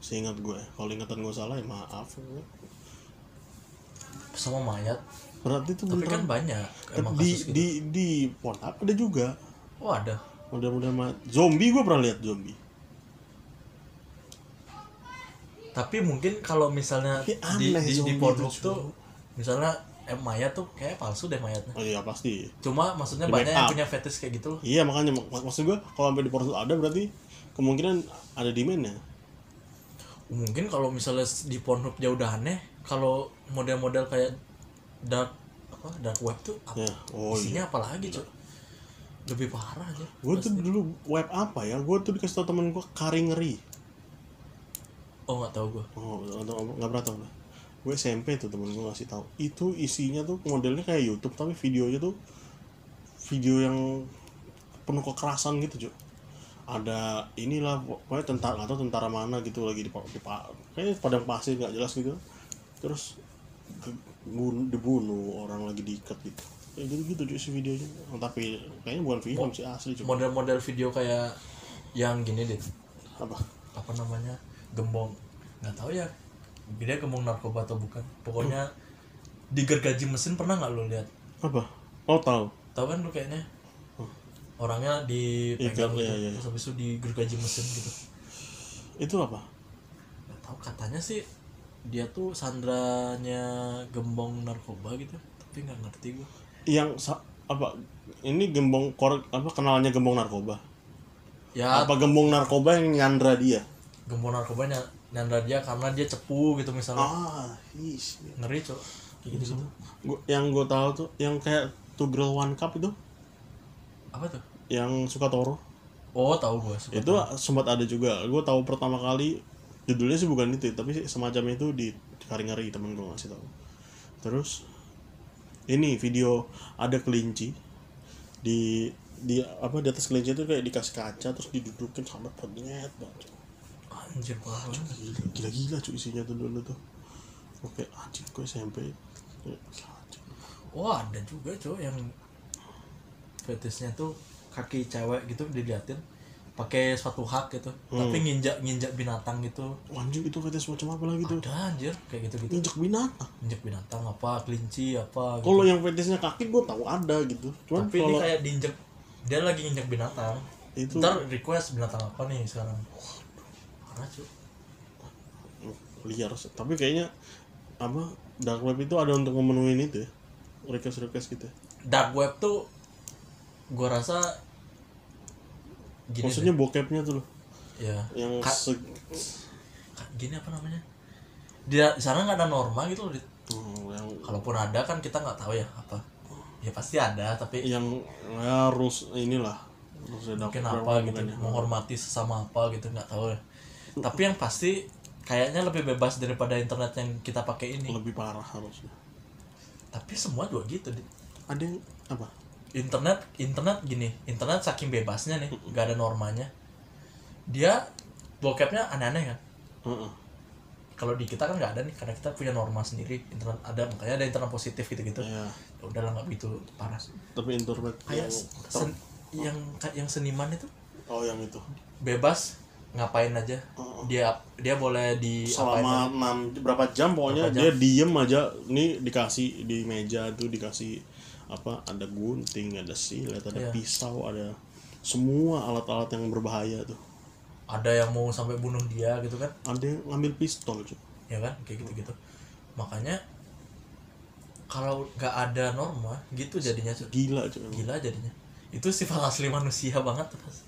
[SPEAKER 2] seingat gue kalau ingatan gue salah ya maaf
[SPEAKER 1] sama mayat
[SPEAKER 2] berarti itu
[SPEAKER 1] tapi
[SPEAKER 2] beneran
[SPEAKER 1] kan banyak emang
[SPEAKER 2] di,
[SPEAKER 1] kasus gitu
[SPEAKER 2] di di Pornhub ada juga
[SPEAKER 1] oh ada
[SPEAKER 2] mudah-mudahan ma- zombie gue pernah lihat zombie
[SPEAKER 1] tapi mungkin kalau misalnya
[SPEAKER 2] Tapi
[SPEAKER 1] di
[SPEAKER 2] aneh
[SPEAKER 1] di, di
[SPEAKER 2] zombie
[SPEAKER 1] Pornhub
[SPEAKER 2] itu,
[SPEAKER 1] tuh misalnya em mayat tuh kayak palsu deh mayatnya
[SPEAKER 2] oh iya pasti
[SPEAKER 1] cuma maksudnya
[SPEAKER 2] Di
[SPEAKER 1] banyak
[SPEAKER 2] make
[SPEAKER 1] yang
[SPEAKER 2] up.
[SPEAKER 1] punya fetish kayak gitu loh
[SPEAKER 2] iya makanya mak- mak- maksud gue kalau sampai di Pornhub ada berarti kemungkinan ada demandnya
[SPEAKER 1] mungkin kalau misalnya di Pornhub ya udah aneh kalau model-model kayak dark apa dark web tuh apa,
[SPEAKER 2] ya oh iya
[SPEAKER 1] isinya apa lagi cok lebih parah aja
[SPEAKER 2] gue tuh dulu web apa ya gue tuh dikasih tau temen gue karingeri
[SPEAKER 1] oh nggak tahu gue
[SPEAKER 2] oh nggak tau- nggak pernah tau lah gue SMP tuh temen gue ngasih tahu itu isinya tuh modelnya kayak YouTube tapi videonya tuh video yang penuh kekerasan gitu cuy ada inilah pokoknya tentara atau tentara mana gitu lagi di, pa- di pa- kayaknya padang pasir nggak jelas gitu terus ke- bun- dibunuh orang lagi diikat gitu kayak gitu gitu cuy si videonya tapi kayaknya bukan film sih asli cuy
[SPEAKER 1] model-model video kayak yang gini deh
[SPEAKER 2] apa
[SPEAKER 1] apa namanya gembong nggak tahu ya dia gembong narkoba atau bukan pokoknya digergaji mesin pernah nggak lo lihat
[SPEAKER 2] apa oh tahu
[SPEAKER 1] tahu kan lu kayaknya orangnya
[SPEAKER 2] Ikat,
[SPEAKER 1] dipegang gitu
[SPEAKER 2] iya, iya.
[SPEAKER 1] terus habis itu digergaji mesin gitu
[SPEAKER 2] itu apa
[SPEAKER 1] nggak tahu katanya sih dia tuh sandranya gembong narkoba gitu tapi nggak ngerti gue
[SPEAKER 2] yang sa- apa ini gembong kor apa kenalnya gembong narkoba
[SPEAKER 1] ya
[SPEAKER 2] apa gembong narkoba yang nyandra dia
[SPEAKER 1] gembong narkoba ny- nyandar dia karena dia cepu gitu misalnya
[SPEAKER 2] ah is
[SPEAKER 1] ngeri cok kayak gitu, gitu
[SPEAKER 2] Gua- yang gue tahu tuh yang kayak two girl one cup itu
[SPEAKER 1] apa tuh
[SPEAKER 2] yang suka toro
[SPEAKER 1] oh tahu gue suka
[SPEAKER 2] itu sempat ada juga gue tahu pertama kali judulnya sih bukan itu tapi sih semacam itu di karingeri temen gue ngasih tahu terus ini video ada kelinci di di apa di atas kelinci itu kayak dikasih kaca terus didudukin sampai penyet banget
[SPEAKER 1] anjir parah
[SPEAKER 2] gila gila, gila cuy isinya tuh dulu tuh oke anjing gue SMP Ya, anjing.
[SPEAKER 1] wah Oh, ada juga cok yang fetishnya tuh kaki cewek gitu diliatin pakai sepatu hak gitu
[SPEAKER 2] Hmm.
[SPEAKER 1] tapi nginjak nginjak binatang gitu
[SPEAKER 2] Wanjing itu katanya semacam apa lagi tuh?
[SPEAKER 1] ada anjir kayak gitu gitu
[SPEAKER 2] Injek binatang.
[SPEAKER 1] nginjak binatang apa kelinci apa gitu.
[SPEAKER 2] Kalau yang fetisnya kaki gue tahu ada gitu. Cuman
[SPEAKER 1] tapi ini
[SPEAKER 2] kalau
[SPEAKER 1] kayak diinjak dia lagi nginjak binatang
[SPEAKER 2] itu
[SPEAKER 1] ntar request binatang apa nih sekarang karena cuy
[SPEAKER 2] liar sih. Tapi kayaknya apa dark web itu ada untuk memenuhi itu ya. Request request gitu. ya.
[SPEAKER 1] dark web tuh gua rasa gini
[SPEAKER 2] Maksudnya bokepnya tuh loh.
[SPEAKER 1] deh. ya
[SPEAKER 2] Yang
[SPEAKER 1] Iya, Ka-
[SPEAKER 2] se
[SPEAKER 1] ka- gini apa namanya dia di sana nggak ada norma gitu loh Dit.
[SPEAKER 2] Hmm, yang
[SPEAKER 1] kalaupun ada kan kita nggak tahu ya apa ya pasti ada tapi
[SPEAKER 2] yang ya, rules inilah rules dark
[SPEAKER 1] mungkin
[SPEAKER 2] web
[SPEAKER 1] apa gitu
[SPEAKER 2] bukannya.
[SPEAKER 1] menghormati sesama apa gitu nggak tahu ya tapi yang pasti kayaknya lebih bebas daripada internet yang kita pakai ini
[SPEAKER 2] ya. lebih parah harusnya.
[SPEAKER 1] tapi semua juga gitu Dit.
[SPEAKER 2] Ada yang apa?
[SPEAKER 1] internet internet gini internet saking bebasnya nih nggak ada normanya dia bokepnya aneh-aneh kan
[SPEAKER 2] Heeh.
[SPEAKER 1] kalau di kita kan nggak ada nih karena kita punya norma sendiri internet ada makanya ada internet positif gitu gitu
[SPEAKER 2] Ya,
[SPEAKER 1] ya udahlah nggak begitu parah
[SPEAKER 2] tapi internet
[SPEAKER 1] kayak
[SPEAKER 2] yang-
[SPEAKER 1] se- Ah, iya, sen- yang ka- yang seniman itu
[SPEAKER 2] oh yang itu.
[SPEAKER 1] bebas ngapain aja dia dia boleh di ya, apain aja.
[SPEAKER 2] selama enam berapa jam pokoknya
[SPEAKER 1] Berapa
[SPEAKER 2] dia diem aja nih dikasih di meja tuh dikasih apa ada gunting ada silet ada
[SPEAKER 1] Iya.
[SPEAKER 2] pisau ada semua alat-alat yang berbahaya tuh
[SPEAKER 1] ada yang mau sampai bunuh dia gitu kan
[SPEAKER 2] ada yang ngambil pistol cuy
[SPEAKER 1] ya kan kayak gitu gitu makanya kalau nggak ada norma gitu jadinya Cuk.
[SPEAKER 2] gila cuy emang.
[SPEAKER 1] gila jadinya itu sifat asli manusia banget Mas.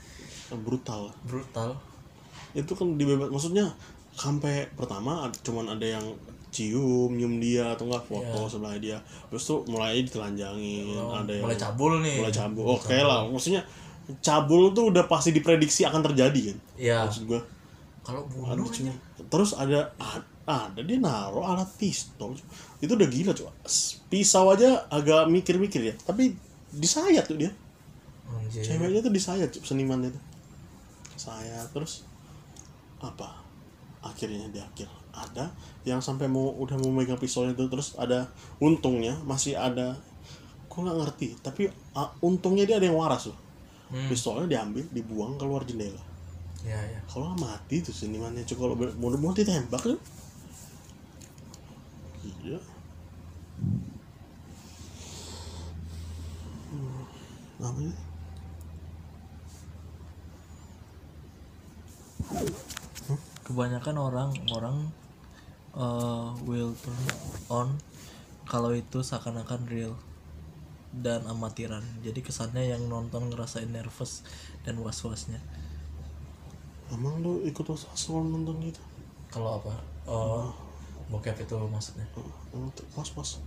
[SPEAKER 2] brutal
[SPEAKER 1] brutal
[SPEAKER 2] itu kan dibebas maksudnya sampai pertama ad- cuman ada yang cium nyium dia atau enggak foto
[SPEAKER 1] Iya.
[SPEAKER 2] sebelah dia terus tuh mulai ditelanjangin
[SPEAKER 1] Kalau
[SPEAKER 2] ada
[SPEAKER 1] Oh,
[SPEAKER 2] yang
[SPEAKER 1] mulai cabul nih
[SPEAKER 2] mulai cabul oke lah maksudnya cabul tuh udah pasti diprediksi akan terjadi kan
[SPEAKER 1] ya
[SPEAKER 2] maksud gua
[SPEAKER 1] kalau
[SPEAKER 2] Aduh,
[SPEAKER 1] bunuh
[SPEAKER 2] cuy.
[SPEAKER 1] aja
[SPEAKER 2] terus ada a- ada dia naruh alat pistol cuy. itu udah gila cuy S- pisau aja agak mikir-mikir ya tapi disayat tuh dia
[SPEAKER 1] Anjir.
[SPEAKER 2] ceweknya tuh disayat cuy, senimannya tuh sayat terus apa akhirnya di akhir ada yang sampai mau udah mau megang pistolnya tuh terus ada untungnya masih ada kok nggak ngerti tapi a- untungnya dia ada yang waras loh
[SPEAKER 1] Hmm.
[SPEAKER 2] pistolnya diambil dibuang keluar jendela
[SPEAKER 1] ya ya
[SPEAKER 2] kalau nggak mati tuh senimannya cuy kalau bener- mau ditembak tuh iya Hmm, apa sih
[SPEAKER 1] kebanyakan orang orang eh, will turn on kalau itu seakan-akan real dan amatiran jadi kesannya yang nonton ngerasain nervous dan was-wasnya
[SPEAKER 2] emang lu ikut was-was nonton gitu
[SPEAKER 1] kalau apa Eh, bokep itu maksudnya
[SPEAKER 2] Oh, Emang tuh was-was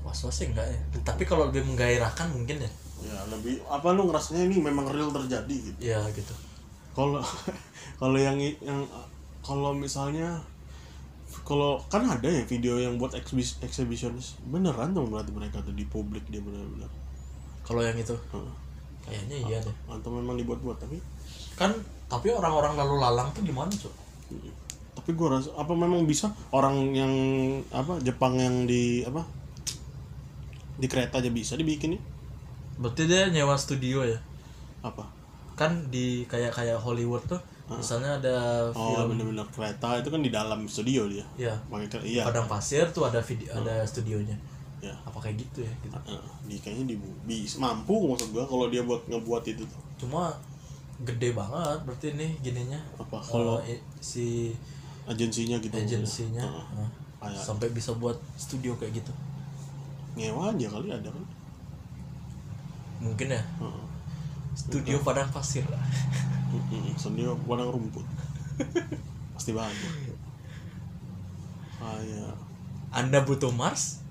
[SPEAKER 1] was-was sih enggak ya tapi kalau lebih menggairahkan mungkin ya
[SPEAKER 2] ya lebih apa lu ngerasanya ini memang real terjadi gitu
[SPEAKER 1] ya gitu
[SPEAKER 2] kalau kalau yang yang kalau misalnya kalau kan ada ya video yang buat exhibis- exhibitionis beneran dong berarti mereka tuh di publik dia bener-bener
[SPEAKER 1] kalau yang itu
[SPEAKER 2] Heeh.
[SPEAKER 1] kayaknya iya deh
[SPEAKER 2] atau memang dibuat-buat tapi
[SPEAKER 1] kan tapi orang-orang lalu lalang tuh gimana cuy
[SPEAKER 2] tapi gue rasa apa memang bisa orang yang apa Jepang yang di apa di kereta aja bisa dibikin nih
[SPEAKER 1] berarti dia nyewa studio ya
[SPEAKER 2] apa
[SPEAKER 1] kan di kayak kayak Hollywood tuh misalnya ada
[SPEAKER 2] oh
[SPEAKER 1] film
[SPEAKER 2] bener-bener kereta itu kan di dalam studio dia
[SPEAKER 1] ya
[SPEAKER 2] pakai ke- iya
[SPEAKER 1] padang pasir tuh ada video ada studionya
[SPEAKER 2] Iya.
[SPEAKER 1] apa kayak gitu ya gitu.
[SPEAKER 2] Heeh, di kayaknya di, bisa mampu maksud gua kalau dia buat ngebuat itu tuh
[SPEAKER 1] cuma gede banget berarti nih gininya
[SPEAKER 2] apa kalau
[SPEAKER 1] kalau si
[SPEAKER 2] agensinya gitu
[SPEAKER 1] agensinya
[SPEAKER 2] Heeh.
[SPEAKER 1] Nah,
[SPEAKER 2] Kayak-
[SPEAKER 1] sampai bisa buat studio kayak gitu
[SPEAKER 2] nyewa aja kali ada kan
[SPEAKER 1] mungkin ya
[SPEAKER 2] Heeh.
[SPEAKER 1] studio padang pasir lah
[SPEAKER 2] Mm-mm, studio padang rumput pasti banyak kayak
[SPEAKER 1] Anda butuh Mars?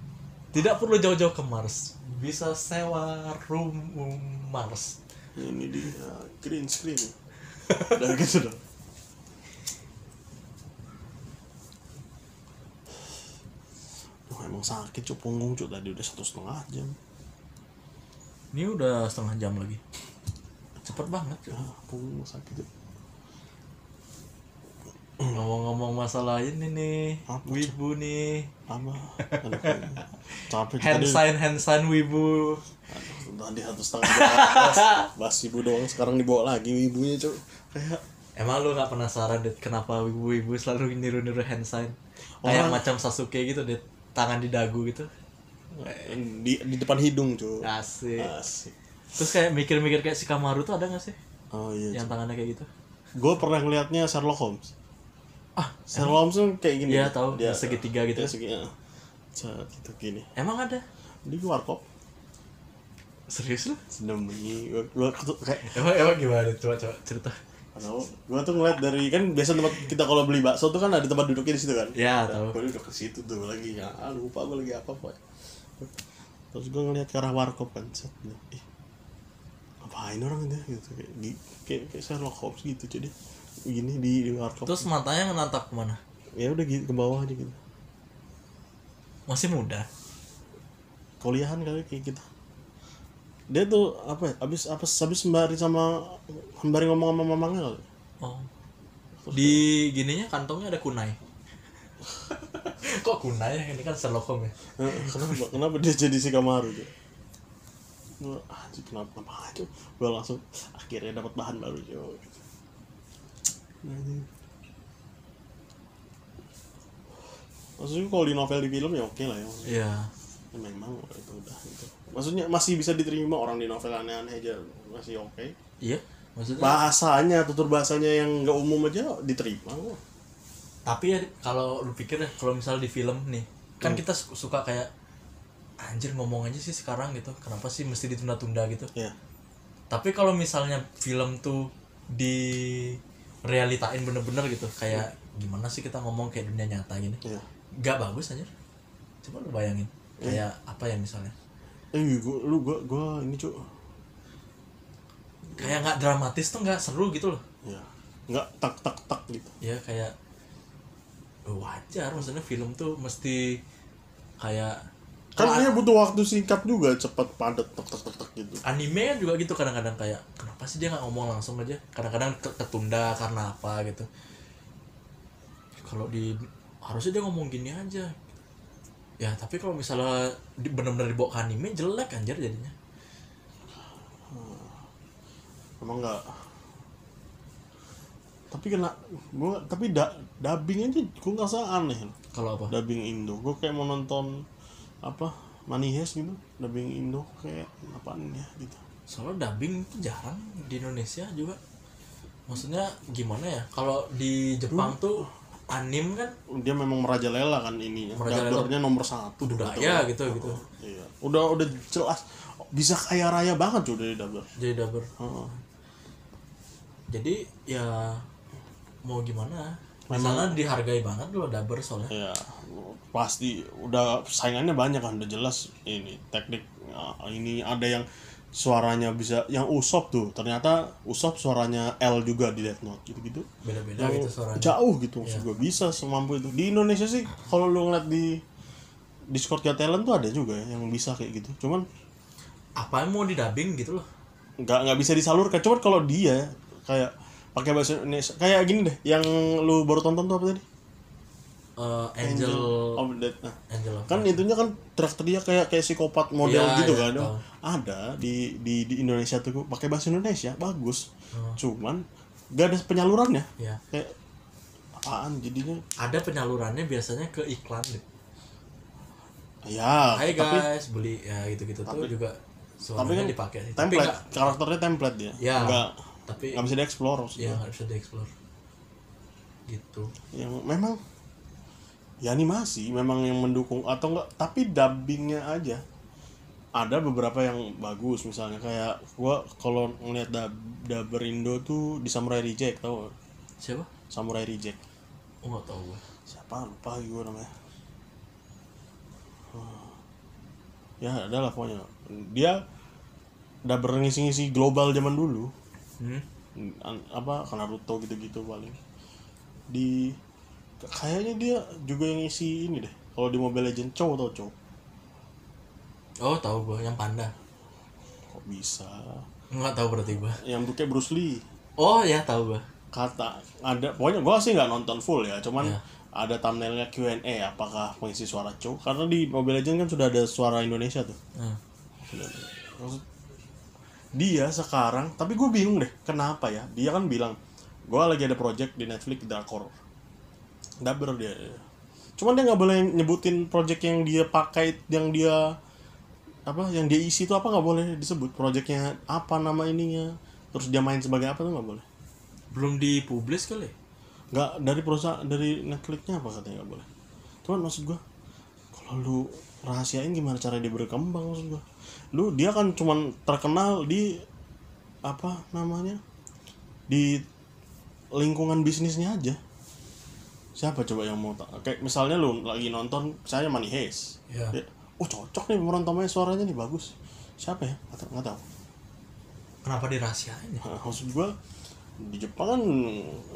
[SPEAKER 1] Tidak perlu jauh-jauh ke Mars. Bisa sewa room um, Mars.
[SPEAKER 2] ini dia green screen udah gitu dong Wah, emang sakit cuk punggung cuk tadi udah satu setengah jam
[SPEAKER 1] Ini udah setengah jam lagi. Cepet banget.
[SPEAKER 2] ya punggung sakit cuk
[SPEAKER 1] ngomong-ngomong masalah ini nih
[SPEAKER 2] Apa,
[SPEAKER 1] wibu nih
[SPEAKER 2] Apa? Aduh, capek
[SPEAKER 1] hand
[SPEAKER 2] tadi.
[SPEAKER 1] sign hand sign wibu
[SPEAKER 2] Aduh, Tadi satu setengah jam bahas, bahas ibu doang sekarang dibawa lagi ibunya cuy. Kayak
[SPEAKER 1] emang lu nggak penasaran dit kenapa wibu-wibu selalu niru-niru hand sign kayak
[SPEAKER 2] Orang-
[SPEAKER 1] macam Sasuke gitu dit tangan di dagu gitu
[SPEAKER 2] eh, di, di depan hidung cuy.
[SPEAKER 1] asik
[SPEAKER 2] Asik.
[SPEAKER 1] terus kayak mikir-mikir kayak si Kamaru tuh ada nggak sih
[SPEAKER 2] Oh iya.
[SPEAKER 1] yang tangannya kayak gitu
[SPEAKER 2] Gue pernah ngeliatnya Sherlock Holmes.
[SPEAKER 1] Ah,
[SPEAKER 2] Sherlock Holmes tuh kayak gini.
[SPEAKER 1] Iya, tahu. Yang segitiga gitu.
[SPEAKER 2] Iya, segi, ya. Set, gitu gini.
[SPEAKER 1] emang ada
[SPEAKER 2] Di warkop.
[SPEAKER 1] serius lu
[SPEAKER 2] Sedemi. Gue tuh kayak
[SPEAKER 1] emang emang gimana coba coba cerita
[SPEAKER 2] gue tuh ngeliat dari kan biasa tempat kita kalau beli bakso tuh kan ada tempat duduknya di situ kan.
[SPEAKER 1] ya tahu
[SPEAKER 2] Gue duduk ke situ tuh lagi ya. Ah, lupa gue lagi apa kok. Terus gue ngeliat ke arah warkop kan. Set. Ih, ngapain orang itu gitu kayak, di- kayak, kayak Sherlock Holmes gitu jadi gini di, di warkop
[SPEAKER 1] terus matanya menatap kemana
[SPEAKER 2] ya udah gitu ke bawah aja gitu
[SPEAKER 1] masih muda
[SPEAKER 2] kuliahan kali kayak gitu dia tuh apa ya abis apa habis sembari sama sembari ngomong sama mamanya kali
[SPEAKER 1] oh di gininya kantongnya ada kunai kok kunai ini kan Sherlock Holmes ya
[SPEAKER 2] Eh, kenapa kenapa dia jadi si Kamaru tuh Gua, ah, anjir, kenapa kenapa aja gue langsung akhirnya dapat bahan baru Jo. gitu. Anjir. maksudnya kalau di novel di film ya oke lah ya maksudnya.
[SPEAKER 1] iya
[SPEAKER 2] Ya, memang itu udah gitu maksudnya masih bisa diterima orang di novel aneh-aneh aja masih oke
[SPEAKER 1] iya maksudnya
[SPEAKER 2] bahasanya tutur bahasanya yang nggak umum aja diterima kok
[SPEAKER 1] tapi ya kalau lu pikir ya, kalau misal di film nih kan kita su- suka kayak anjir ngomong aja sih sekarang gitu kenapa sih mesti ditunda-tunda gitu
[SPEAKER 2] ya
[SPEAKER 1] tapi kalau misalnya film tuh di realitain bener-bener gitu kayak gimana sih kita ngomong kayak dunia nyata gini
[SPEAKER 2] ya
[SPEAKER 1] nggak bagus anjir coba lu bayangin kayak apa ya misalnya
[SPEAKER 2] eh gua, lu gua gua ini cu
[SPEAKER 1] kayak nggak dramatis tuh nggak seru gitu loh
[SPEAKER 2] ya nggak tak tak tak gitu
[SPEAKER 1] ya kayak wajar maksudnya film tuh mesti kayak
[SPEAKER 2] kan
[SPEAKER 1] kalau
[SPEAKER 2] dia butuh waktu singkat juga cepat padat tak tak tak tak gitu
[SPEAKER 1] anime kan juga gitu kadang-kadang kayak kenapa sih dia nggak ngomong langsung aja kadang-kadang ke- ketunda karena apa gitu kalau di harusnya dia ngomong gini aja ya tapi kalau misalnya di- benar-benar dibawa ke anime jelek anjir jadinya
[SPEAKER 2] emang nggak tapi kena gua tapi da, dubbing aja gua nggak salah aneh loh.
[SPEAKER 1] kalau apa
[SPEAKER 2] dubbing Indo gua kayak mau nonton apa Manihes gitu dubbing Indo kayak apaan ya gitu
[SPEAKER 1] soalnya dubbing itu jarang di Indonesia juga maksudnya gimana ya kalau di Jepang tuh anim kan
[SPEAKER 2] dia memang merajalela kan ininya
[SPEAKER 1] Merajalela.
[SPEAKER 2] dubbernya nomor satu
[SPEAKER 1] budaya gitu gitu
[SPEAKER 2] Iya. Udah udah jelas bisa kaya raya banget tuh dari dubber.
[SPEAKER 1] jadi dubber
[SPEAKER 2] Heeh.
[SPEAKER 1] jadi ya mau gimana misalnya dihargai banget loh dubber soalnya
[SPEAKER 2] Iya. Pasti udah saingannya banyak kan udah jelas ini teknik uh, ini ada yang suaranya bisa yang Usop tuh. Ternyata Usop suaranya L juga di Death Note gitu-gitu.
[SPEAKER 1] beda-beda gitu suaranya Iya.
[SPEAKER 2] Jauh gitu maksud gue bisa semampu itu. Di Indonesia sih kalau lu ngeliat di Discord Got Talent tuh ada juga ya yang bisa kayak gitu. Cuman
[SPEAKER 1] apa yang mau didubbing gitu loh
[SPEAKER 2] nggak nggak bisa disalurkan cuman kalau dia kayak pakai bahasa Indonesia kayak gini deh yang lu baru tonton tuh apa tadi
[SPEAKER 1] Eh, Angel
[SPEAKER 2] of Death nah
[SPEAKER 1] Angel apa?
[SPEAKER 2] kan itunya kan teriak-teriak kayak kayak psikopat model
[SPEAKER 1] Iya,
[SPEAKER 2] gitu
[SPEAKER 1] iya,
[SPEAKER 2] kan
[SPEAKER 1] tahu.
[SPEAKER 2] ada di di di Indonesia tuh pakai bahasa Indonesia bagus
[SPEAKER 1] Oh.
[SPEAKER 2] cuman gak ada penyalurannya
[SPEAKER 1] ya
[SPEAKER 2] kayak apaan jadinya
[SPEAKER 1] ada penyalurannya biasanya ke iklan deh.
[SPEAKER 2] ya
[SPEAKER 1] Hai
[SPEAKER 2] tapi
[SPEAKER 1] guys beli ya gitu-gitu tuh juga suaranya
[SPEAKER 2] kan
[SPEAKER 1] dipakai sih. tapi
[SPEAKER 2] template
[SPEAKER 1] nggak-
[SPEAKER 2] karakternya template dia
[SPEAKER 1] ya
[SPEAKER 2] nggak
[SPEAKER 1] tapi
[SPEAKER 2] nggak bisa dieksplor maksud
[SPEAKER 1] ya
[SPEAKER 2] gua.
[SPEAKER 1] nggak bisa dieksplor gitu
[SPEAKER 2] yang memang ya animasi memang yang mendukung atau enggak tapi dubbingnya aja ada beberapa yang bagus misalnya kayak gua kalau ngeliat dub dubber Indo tuh di Samurai Reject tau nggak?
[SPEAKER 1] siapa
[SPEAKER 2] Samurai Reject
[SPEAKER 1] oh nggak tahu gue
[SPEAKER 2] siapa lupa gue namanya Hmm. ya ada lah pokoknya dia dubber ngisi-ngisi global zaman dulu
[SPEAKER 1] hmm?
[SPEAKER 2] an- apa ke Naruto gitu-gitu paling di kayaknya dia juga yang isi ini deh kalau di Mobile Legend cowok tau cowok
[SPEAKER 1] oh tahu gue yang panda
[SPEAKER 2] kok bisa
[SPEAKER 1] nggak tahu berarti gue
[SPEAKER 2] yang tuh kayak Bruce Lee
[SPEAKER 1] oh ya tahu gue
[SPEAKER 2] kata ada pokoknya gue sih nggak nonton full ya cuman
[SPEAKER 1] Iya.
[SPEAKER 2] ada thumbnailnya Q&A apakah pengisi suara cowok karena di Mobile Legends kan sudah ada suara Indonesia tuh
[SPEAKER 1] Nah,
[SPEAKER 2] Maksud- dia sekarang tapi gue bingung deh kenapa ya dia kan bilang gue lagi ada project di Netflix drakor daber dia cuman dia nggak boleh nyebutin project yang dia pakai yang dia apa yang dia isi itu apa nggak boleh disebut projectnya apa nama ininya terus dia main sebagai apa tuh nggak boleh
[SPEAKER 1] belum dipublis kali.
[SPEAKER 2] nggak dari perusahaan dari Netflixnya apa katanya nggak boleh cuman maksud gua kalau lu rahasiain gimana cara dia berkembang maksud gua lu dia kan cuman terkenal di apa namanya di lingkungan bisnisnya aja siapa coba yang mau ta- kayak misalnya lu lagi nonton saya Money Heist
[SPEAKER 1] Iya.
[SPEAKER 2] Ya, oh cocok nih pemeran utamanya suaranya nih bagus siapa ya nggak tahu nggak tahu
[SPEAKER 1] Kenapa dirahasiain ya?
[SPEAKER 2] Nah, maksud gua di Jepang kan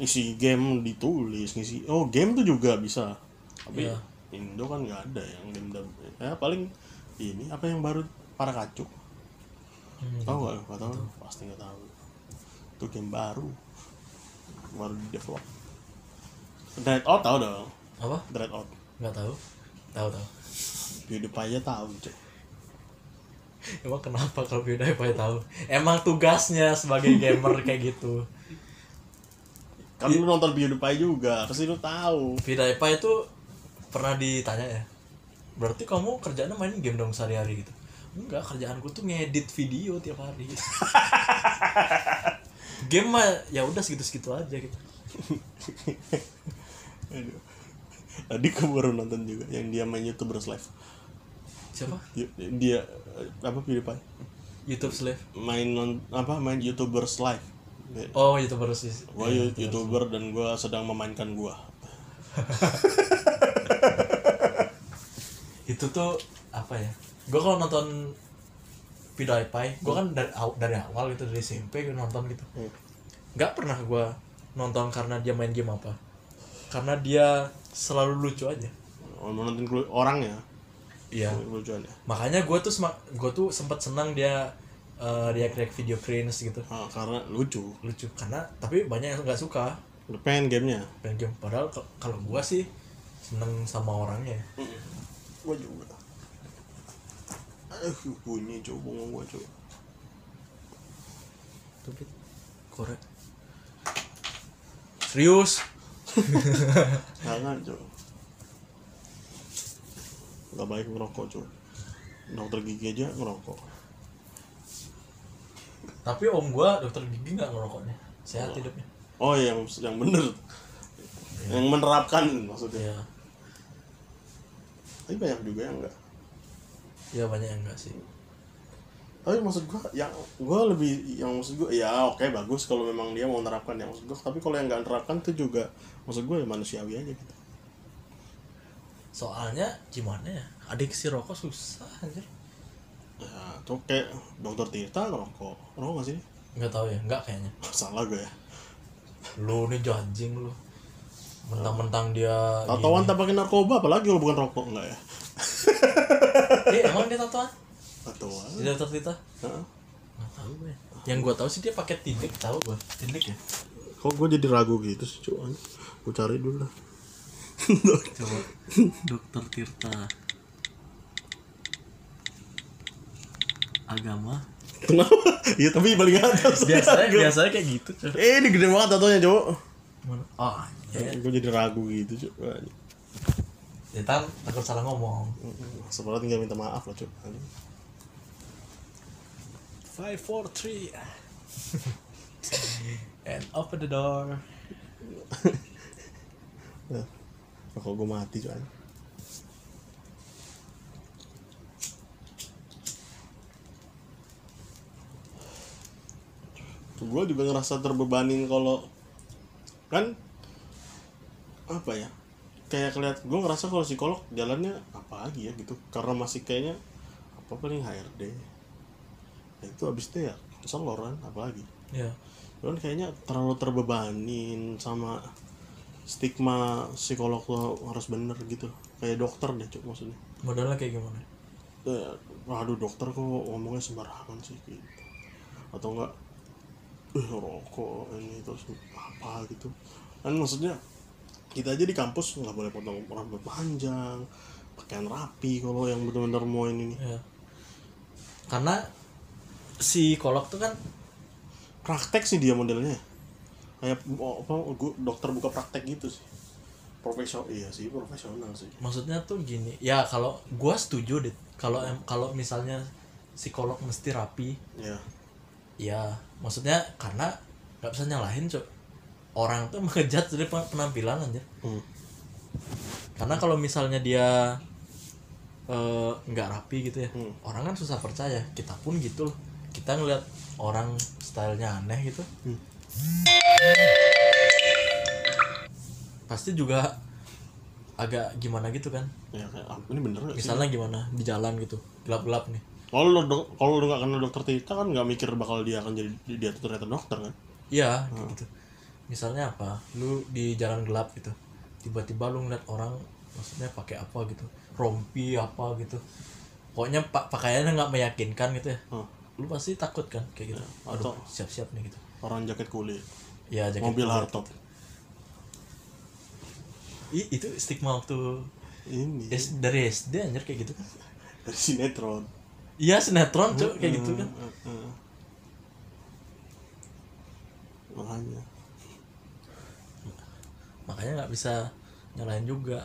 [SPEAKER 2] isi game ditulis ngisi oh game tuh juga bisa tapi
[SPEAKER 1] Iya.
[SPEAKER 2] Indo kan nggak ada yang game dub ya paling ini apa yang baru para kacuk
[SPEAKER 1] Hmm,
[SPEAKER 2] tahu nggak nggak tahu pasti nggak tahu itu game baru baru di develop Dread Out tahu dong
[SPEAKER 1] Apa?
[SPEAKER 2] Dread Out
[SPEAKER 1] Nggak tahu. Tahu tahu.
[SPEAKER 2] PewDiePie tahu cuy
[SPEAKER 1] Emang kenapa kalau PewDiePie tahu? Emang tugasnya sebagai gamer kayak gitu.
[SPEAKER 2] kan
[SPEAKER 1] Iya.
[SPEAKER 2] lu nonton PewDiePie juga pasti lu tahu
[SPEAKER 1] PewDiePie itu pernah ditanya ya. Berarti kamu kerjaannya main game dong sehari-hari gitu. Enggak, kerjaanku tuh ngedit video tiap hari. game mah ya udah segitu-segitu aja gitu.
[SPEAKER 2] Aduh. tadi gue baru nonton juga yang dia main YouTubers live
[SPEAKER 1] Siapa?
[SPEAKER 2] dia, dia eh, apa PewDiePie
[SPEAKER 1] YouTube Slave.
[SPEAKER 2] main non, apa main youtubers live
[SPEAKER 1] Oh, iya, YouTuber sis.
[SPEAKER 2] gue youtuber dan gue sedang memainkan gue
[SPEAKER 1] itu tuh apa ya gue kalau nonton PewDiePie gue kan dari aw- dari awal gitu dari SMP gue nonton gitu
[SPEAKER 2] Hmm.
[SPEAKER 1] nggak pernah gue nonton karena dia main game apa karena dia selalu lucu aja
[SPEAKER 2] nonton kelu- orang ya
[SPEAKER 1] iya
[SPEAKER 2] lucuan ya
[SPEAKER 1] makanya gue tuh semak gue tuh sempat senang dia eh react react video cringe gitu
[SPEAKER 2] Ah, karena lucu
[SPEAKER 1] lucu karena tapi banyak yang nggak suka
[SPEAKER 2] Lu pengen gamenya
[SPEAKER 1] main game padahal ke- kalau gue sih seneng sama orangnya
[SPEAKER 2] gue juga aduh bunyi coba ngomong gue coba
[SPEAKER 1] tapi korek serius
[SPEAKER 2] jangan coba gak baik ngerokok coba dokter gigi aja ngerokok
[SPEAKER 1] Tapi om gua dokter gigi nggak ngerokoknya. Sehat hidupnya.
[SPEAKER 2] oh yang yang bener yang menerapkan maksudnya
[SPEAKER 1] Iya.
[SPEAKER 2] tapi banyak juga yang enggak
[SPEAKER 1] Iya banyak yang enggak sih.
[SPEAKER 2] tapi maksud gua yang gua lebih yang maksud gua ya oke bagus kalau memang dia mau nerapkan ya maksud gua tapi kalau yang nggak nerapkan tuh juga maksud gua ya manusiawi aja gitu
[SPEAKER 1] Soalnya gimana ya? Adiksi rokok susah anjir. Ya,
[SPEAKER 2] nah tuh kayak dokter Tirta ngerokok ngerokok nggak sih dia?
[SPEAKER 1] Nggak tahu ya, nggak kayaknya.
[SPEAKER 2] salah gua
[SPEAKER 1] Iya.
[SPEAKER 2] ya
[SPEAKER 1] Lu nih jajing lu. Mentang-mentang dia
[SPEAKER 2] tatoan
[SPEAKER 1] gini.
[SPEAKER 2] tak pakai narkoba apalagi kalau bukan rokok nggak ya
[SPEAKER 1] Eh, emang dia tatoan?
[SPEAKER 2] tatoan
[SPEAKER 1] Dia dokter Tita?
[SPEAKER 2] Heeh.
[SPEAKER 1] Nggak tahu gue. Yang gua tahu sih dia pakai tindik tahu gua. Tindik ya?
[SPEAKER 2] kok gua jadi ragu gitu sih cuman gua cari dulu lah
[SPEAKER 1] Coba dokter Tirta. Agama.
[SPEAKER 2] kenapa ya tapi paling atas
[SPEAKER 1] Biasanya biasanya kayak gitu, coy.
[SPEAKER 2] eh ini gede banget tatonya cowok
[SPEAKER 1] Mana? Oh, iya.
[SPEAKER 2] gua jadi ragu gitu cuy
[SPEAKER 1] Ya, tar, takut salah ngomong.
[SPEAKER 2] sebenarnya tinggal minta maaf lah cuy
[SPEAKER 1] Five, four, three. And open the door.
[SPEAKER 2] Rokok gue Nah, mati cuy Gue juga ngerasa terbebanin kalau kan apa ya kayak keliat gue ngerasa kalau psikolog jalannya apa lagi ya gitu karena masih kayaknya apa paling HRD Ya itu abis itu ya seloran apa lagi
[SPEAKER 1] Ya.
[SPEAKER 2] Cuman kayaknya terlalu terbebanin sama stigma psikolog lo harus bener gitu kayak dokter deh cuk maksudnya
[SPEAKER 1] Modalnya kayak gimana?
[SPEAKER 2] eh, aduh dokter kok ngomongnya sembarangan sih gitu atau enggak eh rokok ini terus apa gitu kan maksudnya kita aja di kampus nggak boleh potong rambut panjang pakaian rapi kalau yang benar-benar mau ini nih
[SPEAKER 1] Iya. Karena si kolok tuh kan
[SPEAKER 2] praktek sih dia modelnya kayak oh, apa gua- dokter buka praktek gitu sih profesional iya sih profesional sih
[SPEAKER 1] maksudnya tuh gini ya kalau gua setuju deh kalau em- kalau misalnya psikolog mesti rapi
[SPEAKER 2] ya
[SPEAKER 1] ya maksudnya karena nggak bisa nyalahin cok orang tuh mengejat dari pe- penampilan aja
[SPEAKER 2] Hmm.
[SPEAKER 1] karena kalau misalnya dia eh, nggak rapi gitu ya
[SPEAKER 2] Hmm.
[SPEAKER 1] orang kan susah percaya kita pun gitu loh kita ngeliat orang stylenya aneh gitu
[SPEAKER 2] Hmm.
[SPEAKER 1] pasti juga agak gimana gitu kan
[SPEAKER 2] ya kayak ah, ini bener gak sih
[SPEAKER 1] misalnya gimana di jalan gitu gelap-gelap nih
[SPEAKER 2] kalau lu dok- kalau lu nggak kenal dokter Tita kan nggak mikir bakal dia akan jadi dia tuh ternyata dokter kan
[SPEAKER 1] Iya, kayak gitu. Misalnya apa? Lu di jalan gelap gitu. Tiba-tiba lu ngeliat orang maksudnya pakai apa gitu. Rompi apa gitu. Pokoknya pak pakaiannya nggak meyakinkan gitu ya.
[SPEAKER 2] Hah,
[SPEAKER 1] Lu pasti takut kan kayak gitu. Aduh,
[SPEAKER 2] Hmm. atau-
[SPEAKER 1] siap-siap nih gitu.
[SPEAKER 2] orang jaket kulit
[SPEAKER 1] Ya, jaket.
[SPEAKER 2] mobil hardtop
[SPEAKER 1] I- itu stigma waktu
[SPEAKER 2] ini
[SPEAKER 1] S- dari SD anjir kayak gitu kan.
[SPEAKER 2] dari sinetron
[SPEAKER 1] Iya, sinetron cuy kayak gitu kan.
[SPEAKER 2] Eh, eh, eh. makanya
[SPEAKER 1] Makanya nggak bisa nyalain juga.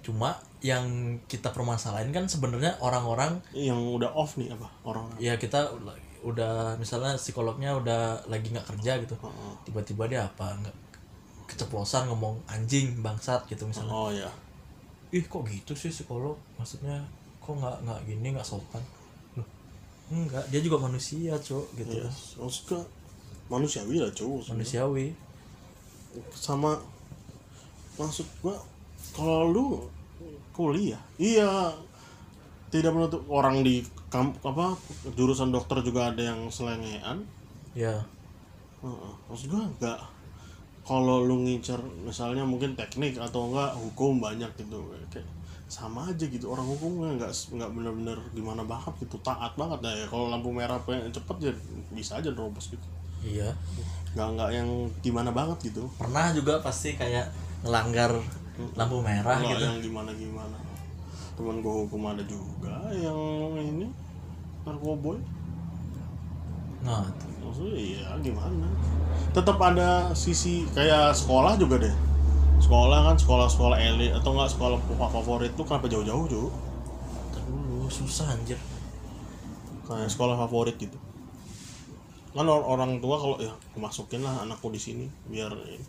[SPEAKER 1] Cuma yang kita permasalahin kan sebenarnya orang-orang
[SPEAKER 2] yang udah off nih apa orang
[SPEAKER 1] ya kita udah misalnya psikolognya udah lagi nggak kerja gitu
[SPEAKER 2] Heeh.
[SPEAKER 1] tiba-tiba dia apa nggak keceplosan ngomong anjing bangsat gitu misalnya
[SPEAKER 2] oh ya
[SPEAKER 1] ih kok gitu sih psikolog maksudnya kok nggak nggak gini nggak sopan Loh, enggak dia juga manusia cok gitu
[SPEAKER 2] ya maksudnya manusiawi lah cowok sebenarnya.
[SPEAKER 1] manusiawi
[SPEAKER 2] sama maksud gua kalau lu kuliah iya tidak menutup orang di kamp apa jurusan dokter juga ada yang selengean
[SPEAKER 1] ya
[SPEAKER 2] Heeh. maksud gua enggak kalau lu ngincer misalnya mungkin teknik atau enggak hukum banyak gitu kayak sama aja gitu orang hukumnya enggak enggak benar-benar gimana banget gitu taat banget dah ya kalau lampu merah pengen cepet ya bisa aja nerobos gitu
[SPEAKER 1] iya
[SPEAKER 2] enggak enggak yang gimana banget gitu
[SPEAKER 1] pernah juga pasti kayak ngelanggar lampu merah
[SPEAKER 2] Nggak
[SPEAKER 1] gitu
[SPEAKER 2] yang gimana gimana teman gue hukum ada juga yang ini narkoboy
[SPEAKER 1] nah tuh.
[SPEAKER 2] maksudnya iya gimana tetap ada sisi kayak sekolah juga deh sekolah kan sekolah-sekolah elit atau enggak sekolah fa- favorit tuh kenapa jauh-jauh juga
[SPEAKER 1] Ntar dulu susah anjir
[SPEAKER 2] kayak sekolah favorit gitu kan or- orang tua kalau ya masukin lah anakku di sini biar ini,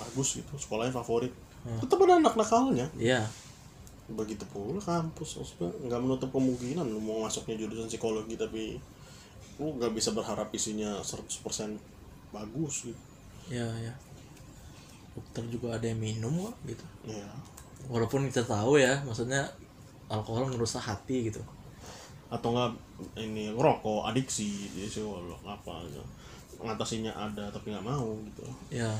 [SPEAKER 2] bagus gitu sekolahnya favorit
[SPEAKER 1] Hmm.
[SPEAKER 2] tetap ada anak nakalnya
[SPEAKER 1] iya
[SPEAKER 2] begitu pula kampus maksudnya nggak menutup kemungkinan lu mau masuknya jurusan psikologi tapi lu nggak bisa berharap isinya 100% bagus gitu
[SPEAKER 1] iya ya dokter juga ada yang minum kok gitu
[SPEAKER 2] ya
[SPEAKER 1] walaupun kita tahu ya maksudnya alkohol merusak hati gitu
[SPEAKER 2] atau nggak ini ngerokok adiksi ya psikolog apa gitu ngatasinya ada tapi nggak mau gitu
[SPEAKER 1] ya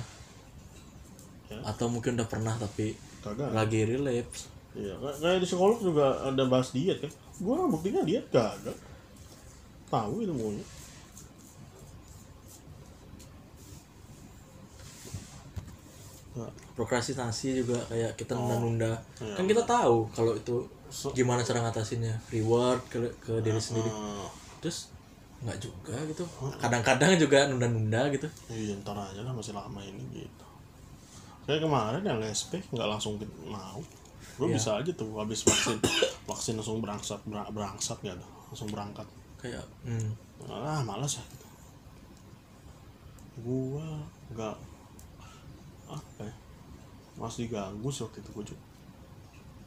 [SPEAKER 2] Ya.
[SPEAKER 1] atau mungkin udah pernah tapi
[SPEAKER 2] kagak
[SPEAKER 1] lagi relapse
[SPEAKER 2] iya kayak- kayak di psikolog juga ada bahas diet kan gua buktinya diet kagak tahu itu maunya Nah,
[SPEAKER 1] prokrastinasi juga kayak kita nunda-nunda
[SPEAKER 2] Iya.
[SPEAKER 1] kan kita tahu kalau itu
[SPEAKER 2] So-
[SPEAKER 1] gimana cara ngatasinnya reward ke, ke diri sendiri
[SPEAKER 2] eh,
[SPEAKER 1] terus nggak juga gitu
[SPEAKER 2] Ah.
[SPEAKER 1] kadang-kadang juga nunda-nunda gitu
[SPEAKER 2] Iya ntar aja lah masih lama ini gitu Kayak kemarin yang LSP nggak langsung di- mau Gue
[SPEAKER 1] Iya.
[SPEAKER 2] bisa aja tuh habis vaksin Vaksin langsung berangkat ber- Berangkat gitu Langsung berangkat
[SPEAKER 1] kayak hmm,
[SPEAKER 2] Ah malas ya gitu Gue nggak Apa ya Masih diganggu sih waktu itu gue juga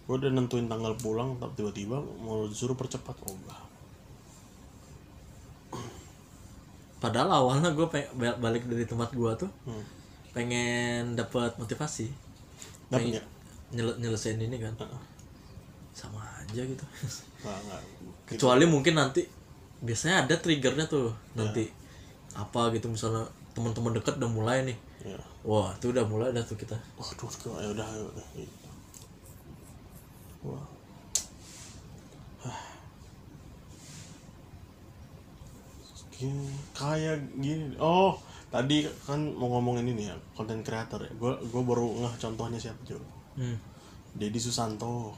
[SPEAKER 2] Gue udah nentuin tanggal pulang tapi Tiba-tiba mau disuruh percepat Oh enggak
[SPEAKER 1] padahal awalnya gue balik dari tempat gue tuh
[SPEAKER 2] hmm.
[SPEAKER 1] pengen dapat motivasi Iya.
[SPEAKER 2] Dapet nggak?
[SPEAKER 1] nyel- nyelesain ini kan
[SPEAKER 2] Ah.
[SPEAKER 1] sama aja gitu
[SPEAKER 2] Nggak, nggak. Gitu.
[SPEAKER 1] kecuali mungkin nanti biasanya ada triggernya tuh nanti apa gitu misalnya teman-teman deket udah mulai nih
[SPEAKER 2] Iya.
[SPEAKER 1] wah itu udah mulai dah tuh kita
[SPEAKER 2] Waduh, tuh, ya udah, ya udah. ya. Wah. Ah. gini kayak gini oh tadi kan mau ngomongin ini ya konten creator ya gue gue baru ngeh contohnya siapa Jo
[SPEAKER 1] Hmm.
[SPEAKER 2] Deddy Susanto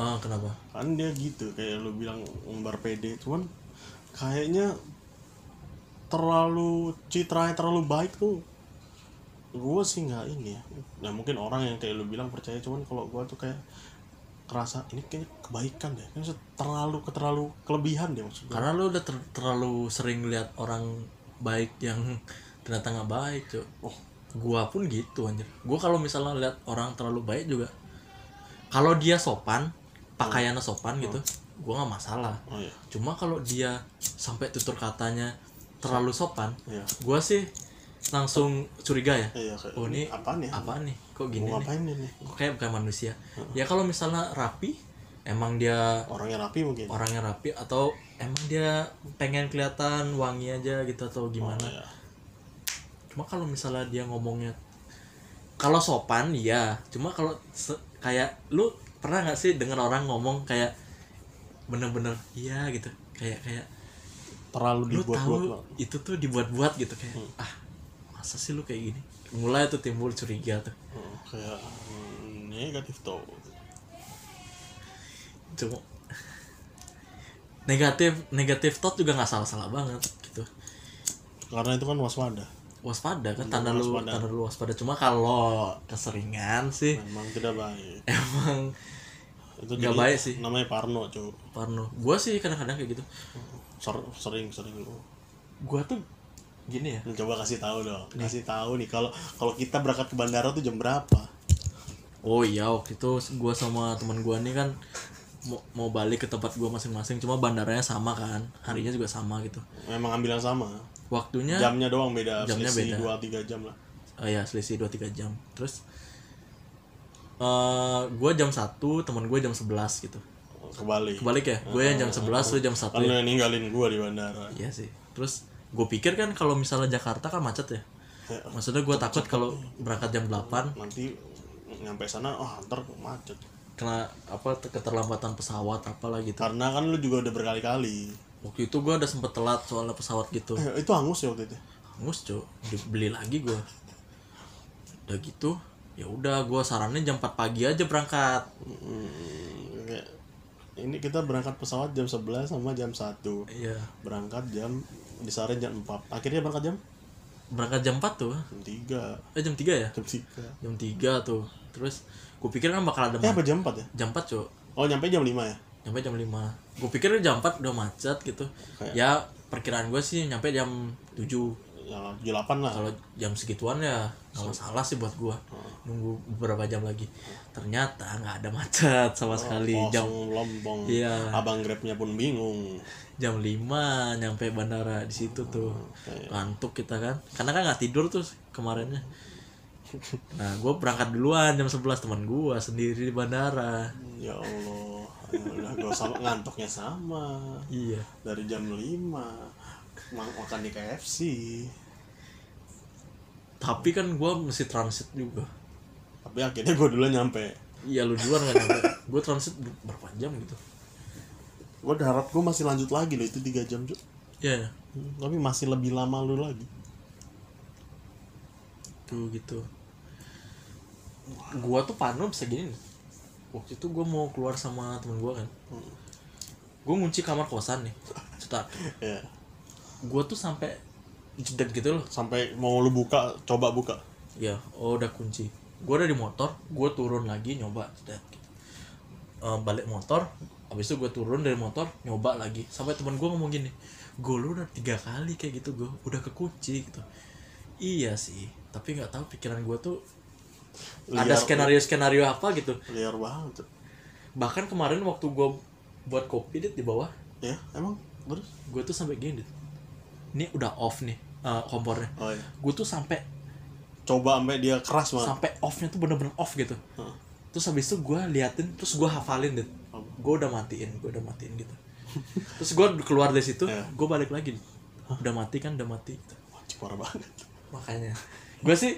[SPEAKER 1] Ah, kenapa?
[SPEAKER 2] kan dia gitu kayak lu bilang ngumbar pede cuman kayaknya terlalu citranya terlalu baik tuh gue sih nggak ini ya nah mungkin orang yang kayak lu bilang percaya cuman kalau gue tuh kayak kerasa ini kayaknya kebaikan deh kan terlalu terlalu kelebihan deh maksud gua.
[SPEAKER 1] Karena lu udah ter- terlalu sering lihat orang baik yang ternyata nggak baik, Cuk.
[SPEAKER 2] oh
[SPEAKER 1] Gua pun gitu anjir. Gua kalau misalnya lihat orang terlalu baik juga kalau dia sopan, pakaiannya sopan gitu, gua nggak masalah.
[SPEAKER 2] oh iya
[SPEAKER 1] Cuma kalau dia sampai tutur katanya terlalu sopan,
[SPEAKER 2] iya
[SPEAKER 1] gua sih langsung curiga ya.
[SPEAKER 2] iya kayak
[SPEAKER 1] Oh, ini
[SPEAKER 2] apaan ya
[SPEAKER 1] Apaan nih? Kok gini
[SPEAKER 2] mau
[SPEAKER 1] nih?
[SPEAKER 2] ngapain ini
[SPEAKER 1] Kok kayak bukan manusia. Ya kalau misalnya rapi, emang dia
[SPEAKER 2] orangnya rapi mungkin
[SPEAKER 1] orangnya rapi atau emang dia pengen kelihatan wangi aja gitu atau gimana
[SPEAKER 2] Oh, iya.
[SPEAKER 1] cuma kalau misalnya dia ngomongnya kalau sopan iya cuma kalau se- kayak lu pernah nggak sih dengan orang ngomong kayak bener-bener iya gitu kayak kayak lu tahu
[SPEAKER 2] terlalu dibuat-buat Hmm.
[SPEAKER 1] itu tuh dibuat-buat gitu kayak ah masa sih lu kayak gini mulai tuh timbul curiga tuh
[SPEAKER 2] Oh, kayak hmm, negatif tuh
[SPEAKER 1] cuma negatif negatif thought juga nggak salah-salah banget gitu
[SPEAKER 2] karena itu kan waspada
[SPEAKER 1] waspada kan tanda lu
[SPEAKER 2] waspada.
[SPEAKER 1] tanda lu waspada cuma kalau keseringan sih
[SPEAKER 2] memang tidak baik
[SPEAKER 1] emang
[SPEAKER 2] itu
[SPEAKER 1] Nggak
[SPEAKER 2] jadi
[SPEAKER 1] baik sih.
[SPEAKER 2] namanya parno cuy
[SPEAKER 1] Parno gua sih kadang-kadang kayak gitu
[SPEAKER 2] Ser- sering sering lu
[SPEAKER 1] gua tuh gini ya
[SPEAKER 2] Lu coba kasih tahu dong
[SPEAKER 1] Iya.
[SPEAKER 2] kasih tahu nih kalau kalau kita berangkat ke bandara tuh jam berapa
[SPEAKER 1] oh iya waktu itu gua sama teman gua nih kan mau, mau balik ke tempat gua masing-masing cuma bandaranya sama kan harinya juga sama gitu
[SPEAKER 2] memang ambil yang sama
[SPEAKER 1] waktunya
[SPEAKER 2] jamnya doang beda
[SPEAKER 1] Ya. Jamnya
[SPEAKER 2] selisih
[SPEAKER 1] beda.
[SPEAKER 2] dua tiga jam lah
[SPEAKER 1] Oh ya selisih 2-3 jam terus eh gue jam 1, teman gue jam 11 gitu
[SPEAKER 2] kebalik
[SPEAKER 1] Kebalik ya, gue yang jam 11, lu jam 1
[SPEAKER 2] kan lu yang ninggalin gua di bandara
[SPEAKER 1] Iya sih. Terus gue pikir kan kalau misalnya Jakarta kan macet ya. Maksudnya gue takut kalau berangkat jam 8
[SPEAKER 2] nanti nyampe sana oh ntar macet
[SPEAKER 1] kena apa te- keterlambatan pesawat apalah gitu.
[SPEAKER 2] karena kan lu juga udah berkali-kali
[SPEAKER 1] Waktu itu gue udah sempet telat soalnya pesawat gitu.
[SPEAKER 2] Eh, itu hangus ya waktu itu
[SPEAKER 1] Hangus cuy, dibeli lagi gue. Udah gitu, ya udah gue sarannya jam 4 pagi aja berangkat.
[SPEAKER 2] Hmm, kayak ini kita berangkat pesawat jam 11 sama jam 1
[SPEAKER 1] Iya.
[SPEAKER 2] berangkat jam di sore jam 4 akhirnya berangkat jam
[SPEAKER 1] Berangkat jam 4 tuh.
[SPEAKER 2] jam 3
[SPEAKER 1] Eh jam 3 ya?
[SPEAKER 2] jam 3
[SPEAKER 1] Jam 3 tuh. Terus gue pikir kan bakal ada ma-
[SPEAKER 2] eh apa jam 4 ya
[SPEAKER 1] jam 4 cuy.
[SPEAKER 2] oh nyampe jam 5 ya
[SPEAKER 1] nyampe jam 5 gue pikir jam 4 udah macet gitu
[SPEAKER 2] Kayak-
[SPEAKER 1] ya perkiraan gue sih nyampe jam 7
[SPEAKER 2] ya 8 lah
[SPEAKER 1] kalau jam segituan ya nggak masalah sih buat gue
[SPEAKER 2] Oh.
[SPEAKER 1] nunggu beberapa jam lagi ternyata nggak ada macet
[SPEAKER 2] Oh,
[SPEAKER 1] sama sekali
[SPEAKER 2] kosong
[SPEAKER 1] jam
[SPEAKER 2] lombong
[SPEAKER 1] Iya.
[SPEAKER 2] abang grabnya pun bingung
[SPEAKER 1] jam 5 nyampe bandara di situ tuh
[SPEAKER 2] Oh, kayak-
[SPEAKER 1] ngantuk kita kan karena kan nggak tidur tuh kemarinnya nah gue berangkat duluan jam 11 teman gue sendiri di bandara
[SPEAKER 2] ya Allah ya udah gak usah ngantuknya sama
[SPEAKER 1] iya
[SPEAKER 2] dari jam 5 Mang makan di KFC
[SPEAKER 1] tapi kan gue mesti transit juga
[SPEAKER 2] tapi akhirnya gue duluan nyampe
[SPEAKER 1] Iya lu duluan gak nyampe Gue transit ber- berapa jam gitu
[SPEAKER 2] gue harap gue masih lanjut lagi loh itu 3 jam Cuk.
[SPEAKER 1] Iya ya
[SPEAKER 2] Hmm, tapi masih lebih lama lu lagi
[SPEAKER 1] Tuh gitu Gua tuh parno bisa gini nih Waktu itu gua mau keluar sama temen gua kan
[SPEAKER 2] Hmm.
[SPEAKER 1] Gua ngunci kamar kosan nih Cetak
[SPEAKER 2] ya
[SPEAKER 1] Gua tuh sampai jedek gitu loh
[SPEAKER 2] sampai mau lu buka coba buka
[SPEAKER 1] Ya oh udah kunci Gua udah di motor Gua turun lagi nyoba cetek. Eh, balik motor Habis itu gua turun dari motor Nyoba lagi Sampai temen gua ngomong gini Gue lu udah tiga kali kayak gitu gue Udah kekunci gitu Iya sih Tapi nggak tahu pikiran gua tuh ada
[SPEAKER 2] Liar-
[SPEAKER 1] skenario-skenario apa gitu
[SPEAKER 2] liar banget Cuk.
[SPEAKER 1] bahkan kemarin waktu gue buat kopi dit di bawah
[SPEAKER 2] ya emang terus
[SPEAKER 1] gue tuh sampai gini dit ini udah off nih eh, kompornya
[SPEAKER 2] oh iya.
[SPEAKER 1] gue tuh sampai
[SPEAKER 2] coba sampai dia keras banget
[SPEAKER 1] sampai offnya tuh bener-bener off gitu
[SPEAKER 2] Heeh.
[SPEAKER 1] terus habis itu gue liatin terus gue hafalin dit
[SPEAKER 2] Apa?
[SPEAKER 1] gue udah matiin gue udah matiin gitu terus gue keluar dari situ
[SPEAKER 2] Iya.
[SPEAKER 1] gue balik lagi Dit. udah mati kan udah mati gitu.
[SPEAKER 2] Wajib parah banget
[SPEAKER 1] makanya gue sih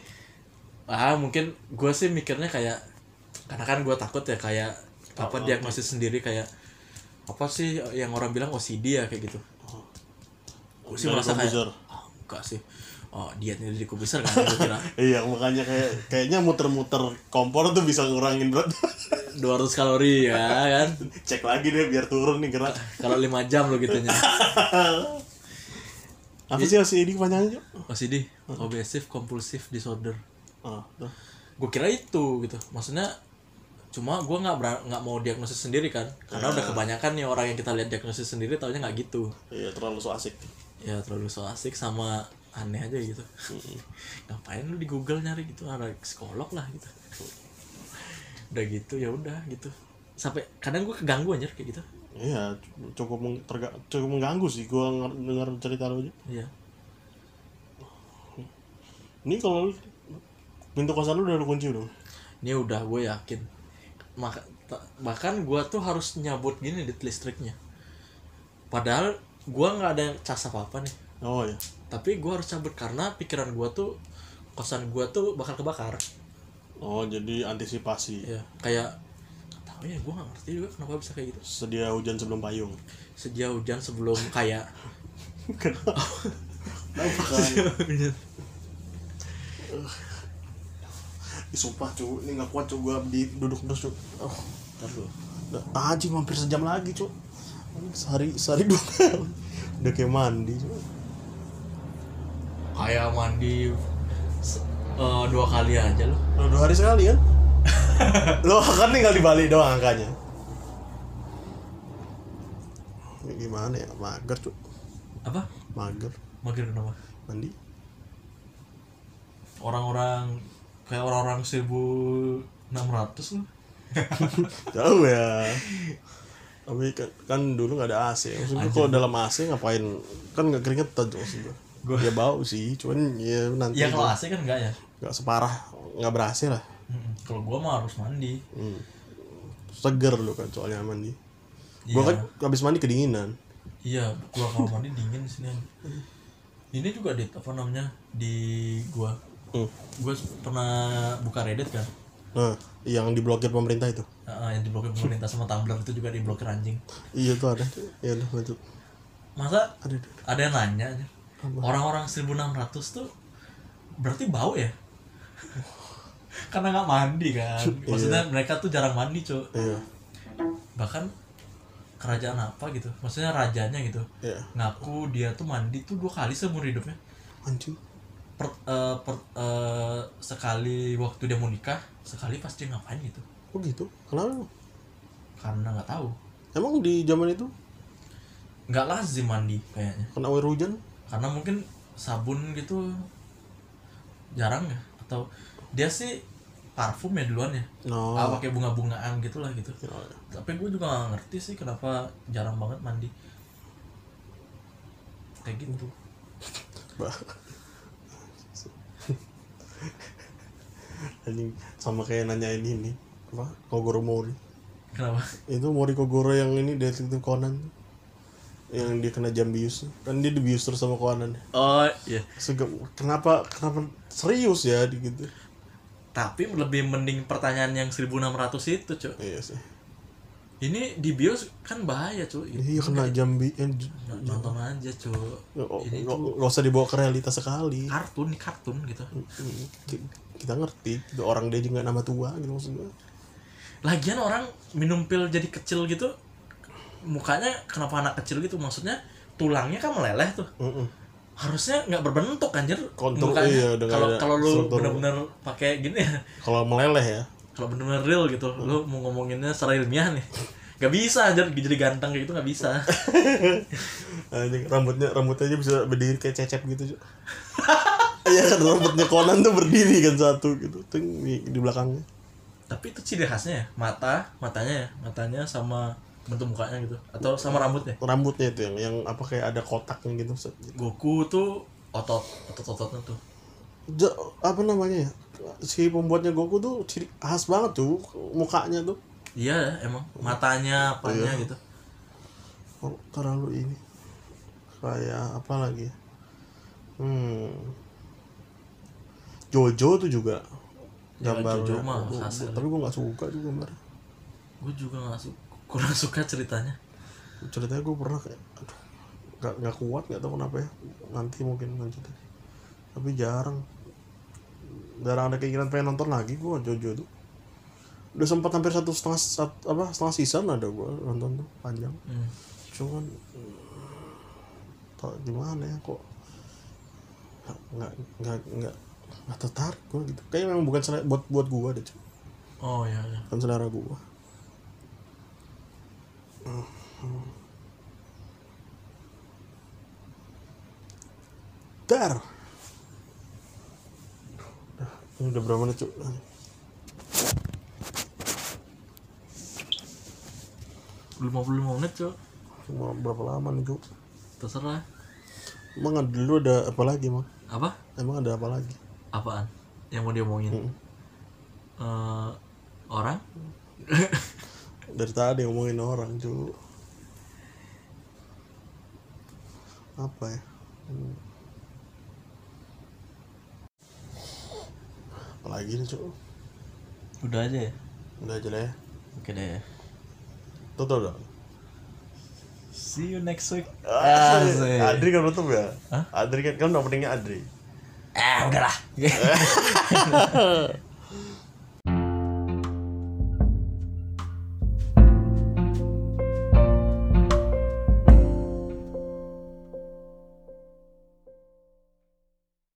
[SPEAKER 1] ah mungkin gue sih mikirnya kayak karena kan gue takut ya kayak apa diagnosis sendiri kayak apa sih yang orang bilang OCD ya kayak gitu
[SPEAKER 2] Oh.
[SPEAKER 1] Gue sih
[SPEAKER 2] Dari
[SPEAKER 1] merasa kayak
[SPEAKER 2] Corbuzier.
[SPEAKER 1] "Ah, enggak sih. Oh, dietnya dari Corbuzier kan gue kira
[SPEAKER 2] Iya, makanya kayak kayaknya muter-muter kompor tuh bisa ngurangin berat.
[SPEAKER 1] 200 kalori ya kan.
[SPEAKER 2] Cek lagi deh biar turun nih gerak.
[SPEAKER 1] Kalau 5 jam lo gitunya.
[SPEAKER 2] Apa sih OCD kepanjangannya? Cuk?
[SPEAKER 1] OCD, obsessive compulsive disorder.
[SPEAKER 2] Ah, tuh.
[SPEAKER 1] Gue kira itu gitu. Maksudnya cuma gue nggak beran- nggak mau diagnosis sendiri kan karena udah kebanyakan nih orang yang kita lihat diagnosis sendiri taunya nggak gitu
[SPEAKER 2] Iya, terlalu so asik.
[SPEAKER 1] ya terlalu so asik sama aneh aja gitu ngapain lu di Google nyari gitu ada psikolog lah gitu udah gitu ya udah gitu sampai kadang gue keganggu anjir kayak gitu
[SPEAKER 2] Iya, cu- cukup meng- terga- cukup mengganggu sih gua nger- dengar cerita lu aja.
[SPEAKER 1] iya
[SPEAKER 2] Ini kalau lu- pintu kosan lu udah lu kunci dong.
[SPEAKER 1] ini udah gue yakin Maka, ta- bahkan gue tuh harus nyabut gini di listriknya padahal gue nggak ada cas apa apa nih
[SPEAKER 2] Oh iya.
[SPEAKER 1] tapi gue harus cabut karena pikiran gue tuh kosan gue tuh bakal kebakar
[SPEAKER 2] Oh, jadi antisipasi.
[SPEAKER 1] ya kayak nggak tahu ya gue nggak ngerti juga kenapa bisa kayak gitu
[SPEAKER 2] Sedia hujan sebelum payung.
[SPEAKER 1] sejauh hujan sebelum kayak
[SPEAKER 2] Kenapa? Kenapa kan? Ih, Sumpah cu, ini gak kuat cu, gua di duduk terus cu
[SPEAKER 1] oh ntar dulu.
[SPEAKER 2] Udah anjing hampir sejam lagi cu Sehari, sehari dua kali Udah kayak mandi cu
[SPEAKER 1] kayak mandi se- eh, dua kali aja loh
[SPEAKER 2] Udah dua hari sekali kan Lo kan tinggal di Bali doang angkanya Ini gimana ya, mager cu
[SPEAKER 1] apa
[SPEAKER 2] Mager,
[SPEAKER 1] mager kenapa
[SPEAKER 2] mandi
[SPEAKER 1] orang-orang kayak orang-orang 1600 loh
[SPEAKER 2] Jauh ya Tapi kan, kan dulu gak ada AC Maksud gue kalau dalam AC ngapain Kan gak keringetan tuh maksud gue
[SPEAKER 1] Gua-
[SPEAKER 2] Ya bau sih, cuman ya nanti
[SPEAKER 1] ya kalau AC kan enggak ya
[SPEAKER 2] Gak separah, gak berhasil lah
[SPEAKER 1] Mm-mm. kalau gua mah harus mandi
[SPEAKER 2] Hmm. Seger lu kan soalnya mandi.
[SPEAKER 1] iya
[SPEAKER 2] Gua kan habis mandi kedinginan.
[SPEAKER 1] iya gua kalau mandi dingin di sini ini juga di apa namanya di gua
[SPEAKER 2] Hmm.
[SPEAKER 1] gua pernah buka Reddit kan
[SPEAKER 2] Nah, yang diblokir pemerintah itu.
[SPEAKER 1] Ah, yang diblokir pemerintah sama Tumblr itu juga diblokir anjing
[SPEAKER 2] Iya tuh ada. Iya tuh lanjut.
[SPEAKER 1] masa
[SPEAKER 2] Ada tuh.
[SPEAKER 1] ada yang nanya aja. orang-orang 1600 tuh berarti bau ya karena nggak mandi kan maksudnya mereka tuh jarang mandi cuy
[SPEAKER 2] Iya.
[SPEAKER 1] bahkan kerajaan apa gitu maksudnya rajanya gitu
[SPEAKER 2] Iya.
[SPEAKER 1] ngaku dia tuh mandi tuh dua kali seumur hidupnya
[SPEAKER 2] Anjing.
[SPEAKER 1] Per- eh, per- eh, sekali waktu dia mau nikah sekali pas dia ngapain gitu
[SPEAKER 2] Oh gitu. Kenapa? emang?
[SPEAKER 1] karena nggak tahu
[SPEAKER 2] Emang di zaman itu
[SPEAKER 1] nggak lazim mandi kayaknya
[SPEAKER 2] kena air hujan?
[SPEAKER 1] karena mungkin sabun gitu jarang ya atau dia sih parfum ya duluan ya
[SPEAKER 2] No.
[SPEAKER 1] ah, pakai bunga-bungaan gitulah gitu
[SPEAKER 2] Ya, ya.
[SPEAKER 1] tapi gue juga gak ngerti sih kenapa jarang banget mandi kayak gitu
[SPEAKER 2] Bah. Anjing sama kayak nanyain ini. Apa? Kogoro Mori.
[SPEAKER 1] kenapa
[SPEAKER 2] itu Mori Kogoro yang ini detektif Conan yang dia kena jam bius kan dia dibius terus sama Conan
[SPEAKER 1] oh iya
[SPEAKER 2] Sega, kenapa kenapa serius ya di- gitu
[SPEAKER 1] tapi lebih mending pertanyaan yang 1600 itu cuy
[SPEAKER 2] iya sih
[SPEAKER 1] ini di bios kan bahaya cuy
[SPEAKER 2] iya kena jam bi eh, j-
[SPEAKER 1] Nggak nonton aja cuy
[SPEAKER 2] nggak
[SPEAKER 1] ini
[SPEAKER 2] nggak-
[SPEAKER 1] tuh
[SPEAKER 2] nggak usah dibawa ke realitas sekali
[SPEAKER 1] kartun kartun gitu
[SPEAKER 2] Mm, ki- kita ngerti gitu. orang dia juga nama tua gitu maksudnya
[SPEAKER 1] Lagian orang minum pil jadi kecil gitu mukanya kenapa anak kecil gitu maksudnya tulangnya kan meleleh tuh
[SPEAKER 2] Mm-mm.
[SPEAKER 1] harusnya nggak berbentuk anjir
[SPEAKER 2] Kontur,
[SPEAKER 1] mukanya.
[SPEAKER 2] iya, udah nggak
[SPEAKER 1] kalau
[SPEAKER 2] ada
[SPEAKER 1] kalau lu
[SPEAKER 2] struktur.
[SPEAKER 1] bener-bener pakai gini ya
[SPEAKER 2] kalau meleleh ya
[SPEAKER 1] kalau bener-bener real gitu lu mau ngomonginnya secara ilmiah nih nggak bisa anjir jadi ganteng kayak gitu nggak bisa
[SPEAKER 2] Anjing, rambutnya rambutnya aja bisa berdiri kayak cecep gitu Cuk. iya kan rambutnya Conan tuh berdiri kan satu gitu ting di, di belakangnya
[SPEAKER 1] tapi itu ciri khasnya ya mata matanya ya matanya sama bentuk mukanya gitu atau sama rambutnya
[SPEAKER 2] rambutnya itu yang yang apa kayak ada kotaknya gitu set.
[SPEAKER 1] Goku tuh otot otot ototnya tuh
[SPEAKER 2] Ja- apa namanya ya si pembuatnya Goku tuh ciri khas banget tuh mukanya tuh
[SPEAKER 1] iya emang matanya apanya gitu
[SPEAKER 2] Oh, terlalu ini kayak apa lagi ya? hmm Jojo tuh juga
[SPEAKER 1] Ya, Jojo
[SPEAKER 2] gambarnya
[SPEAKER 1] mah
[SPEAKER 2] Gua- gua-
[SPEAKER 1] khas.
[SPEAKER 2] tapi gue nggak suka tuh gambar
[SPEAKER 1] gue juga nggak suka kurang suka ceritanya
[SPEAKER 2] ceritanya gue pernah kayak aduh nggak nggak kuat nggak tahu kenapa ya nanti mungkin lanjutnya tapi jarang jarang ada keinginan pengen nonton lagi gua Jojo tuh udah sempat hampir satu setengah sat, apa setengah season ada gua nonton tuh panjang
[SPEAKER 1] Hmm.
[SPEAKER 2] cuman mm, tau gimana ya kok nggak- nggak nggak nggak nggak tertarik gua gitu kayaknya memang bukan selera, buat buat gua deh cuy.
[SPEAKER 1] Oh iya, iya.
[SPEAKER 2] bukan selera Kan gua Dar. Udah, Ini udah berapa menit, Cuk?
[SPEAKER 1] Belum 55 menit, Cok.
[SPEAKER 2] Cuma berapa lama nih, Cuk?
[SPEAKER 1] Terserah.
[SPEAKER 2] Emang ada dulu ada apa lagi, Mang?
[SPEAKER 1] Apa?
[SPEAKER 2] Emang ada apa lagi?
[SPEAKER 1] Apaan? Yang mau diomongin?
[SPEAKER 2] Mm.
[SPEAKER 1] Eh, orang?
[SPEAKER 2] Dari tadi ngomongin orang, Cuk. Apa ya? Hmm. Apa lagi nih, Cuk?
[SPEAKER 1] Udah aja ya?
[SPEAKER 2] Udah aja lah ya.
[SPEAKER 1] Oke deh.
[SPEAKER 2] Tutup dong.
[SPEAKER 1] See you next week.
[SPEAKER 2] Asik.
[SPEAKER 1] Asik.
[SPEAKER 2] Adri kan tutup ya?
[SPEAKER 1] Hah? Eh,
[SPEAKER 2] Adri kan, kan openingnya Adri.
[SPEAKER 1] Ah, udahlah.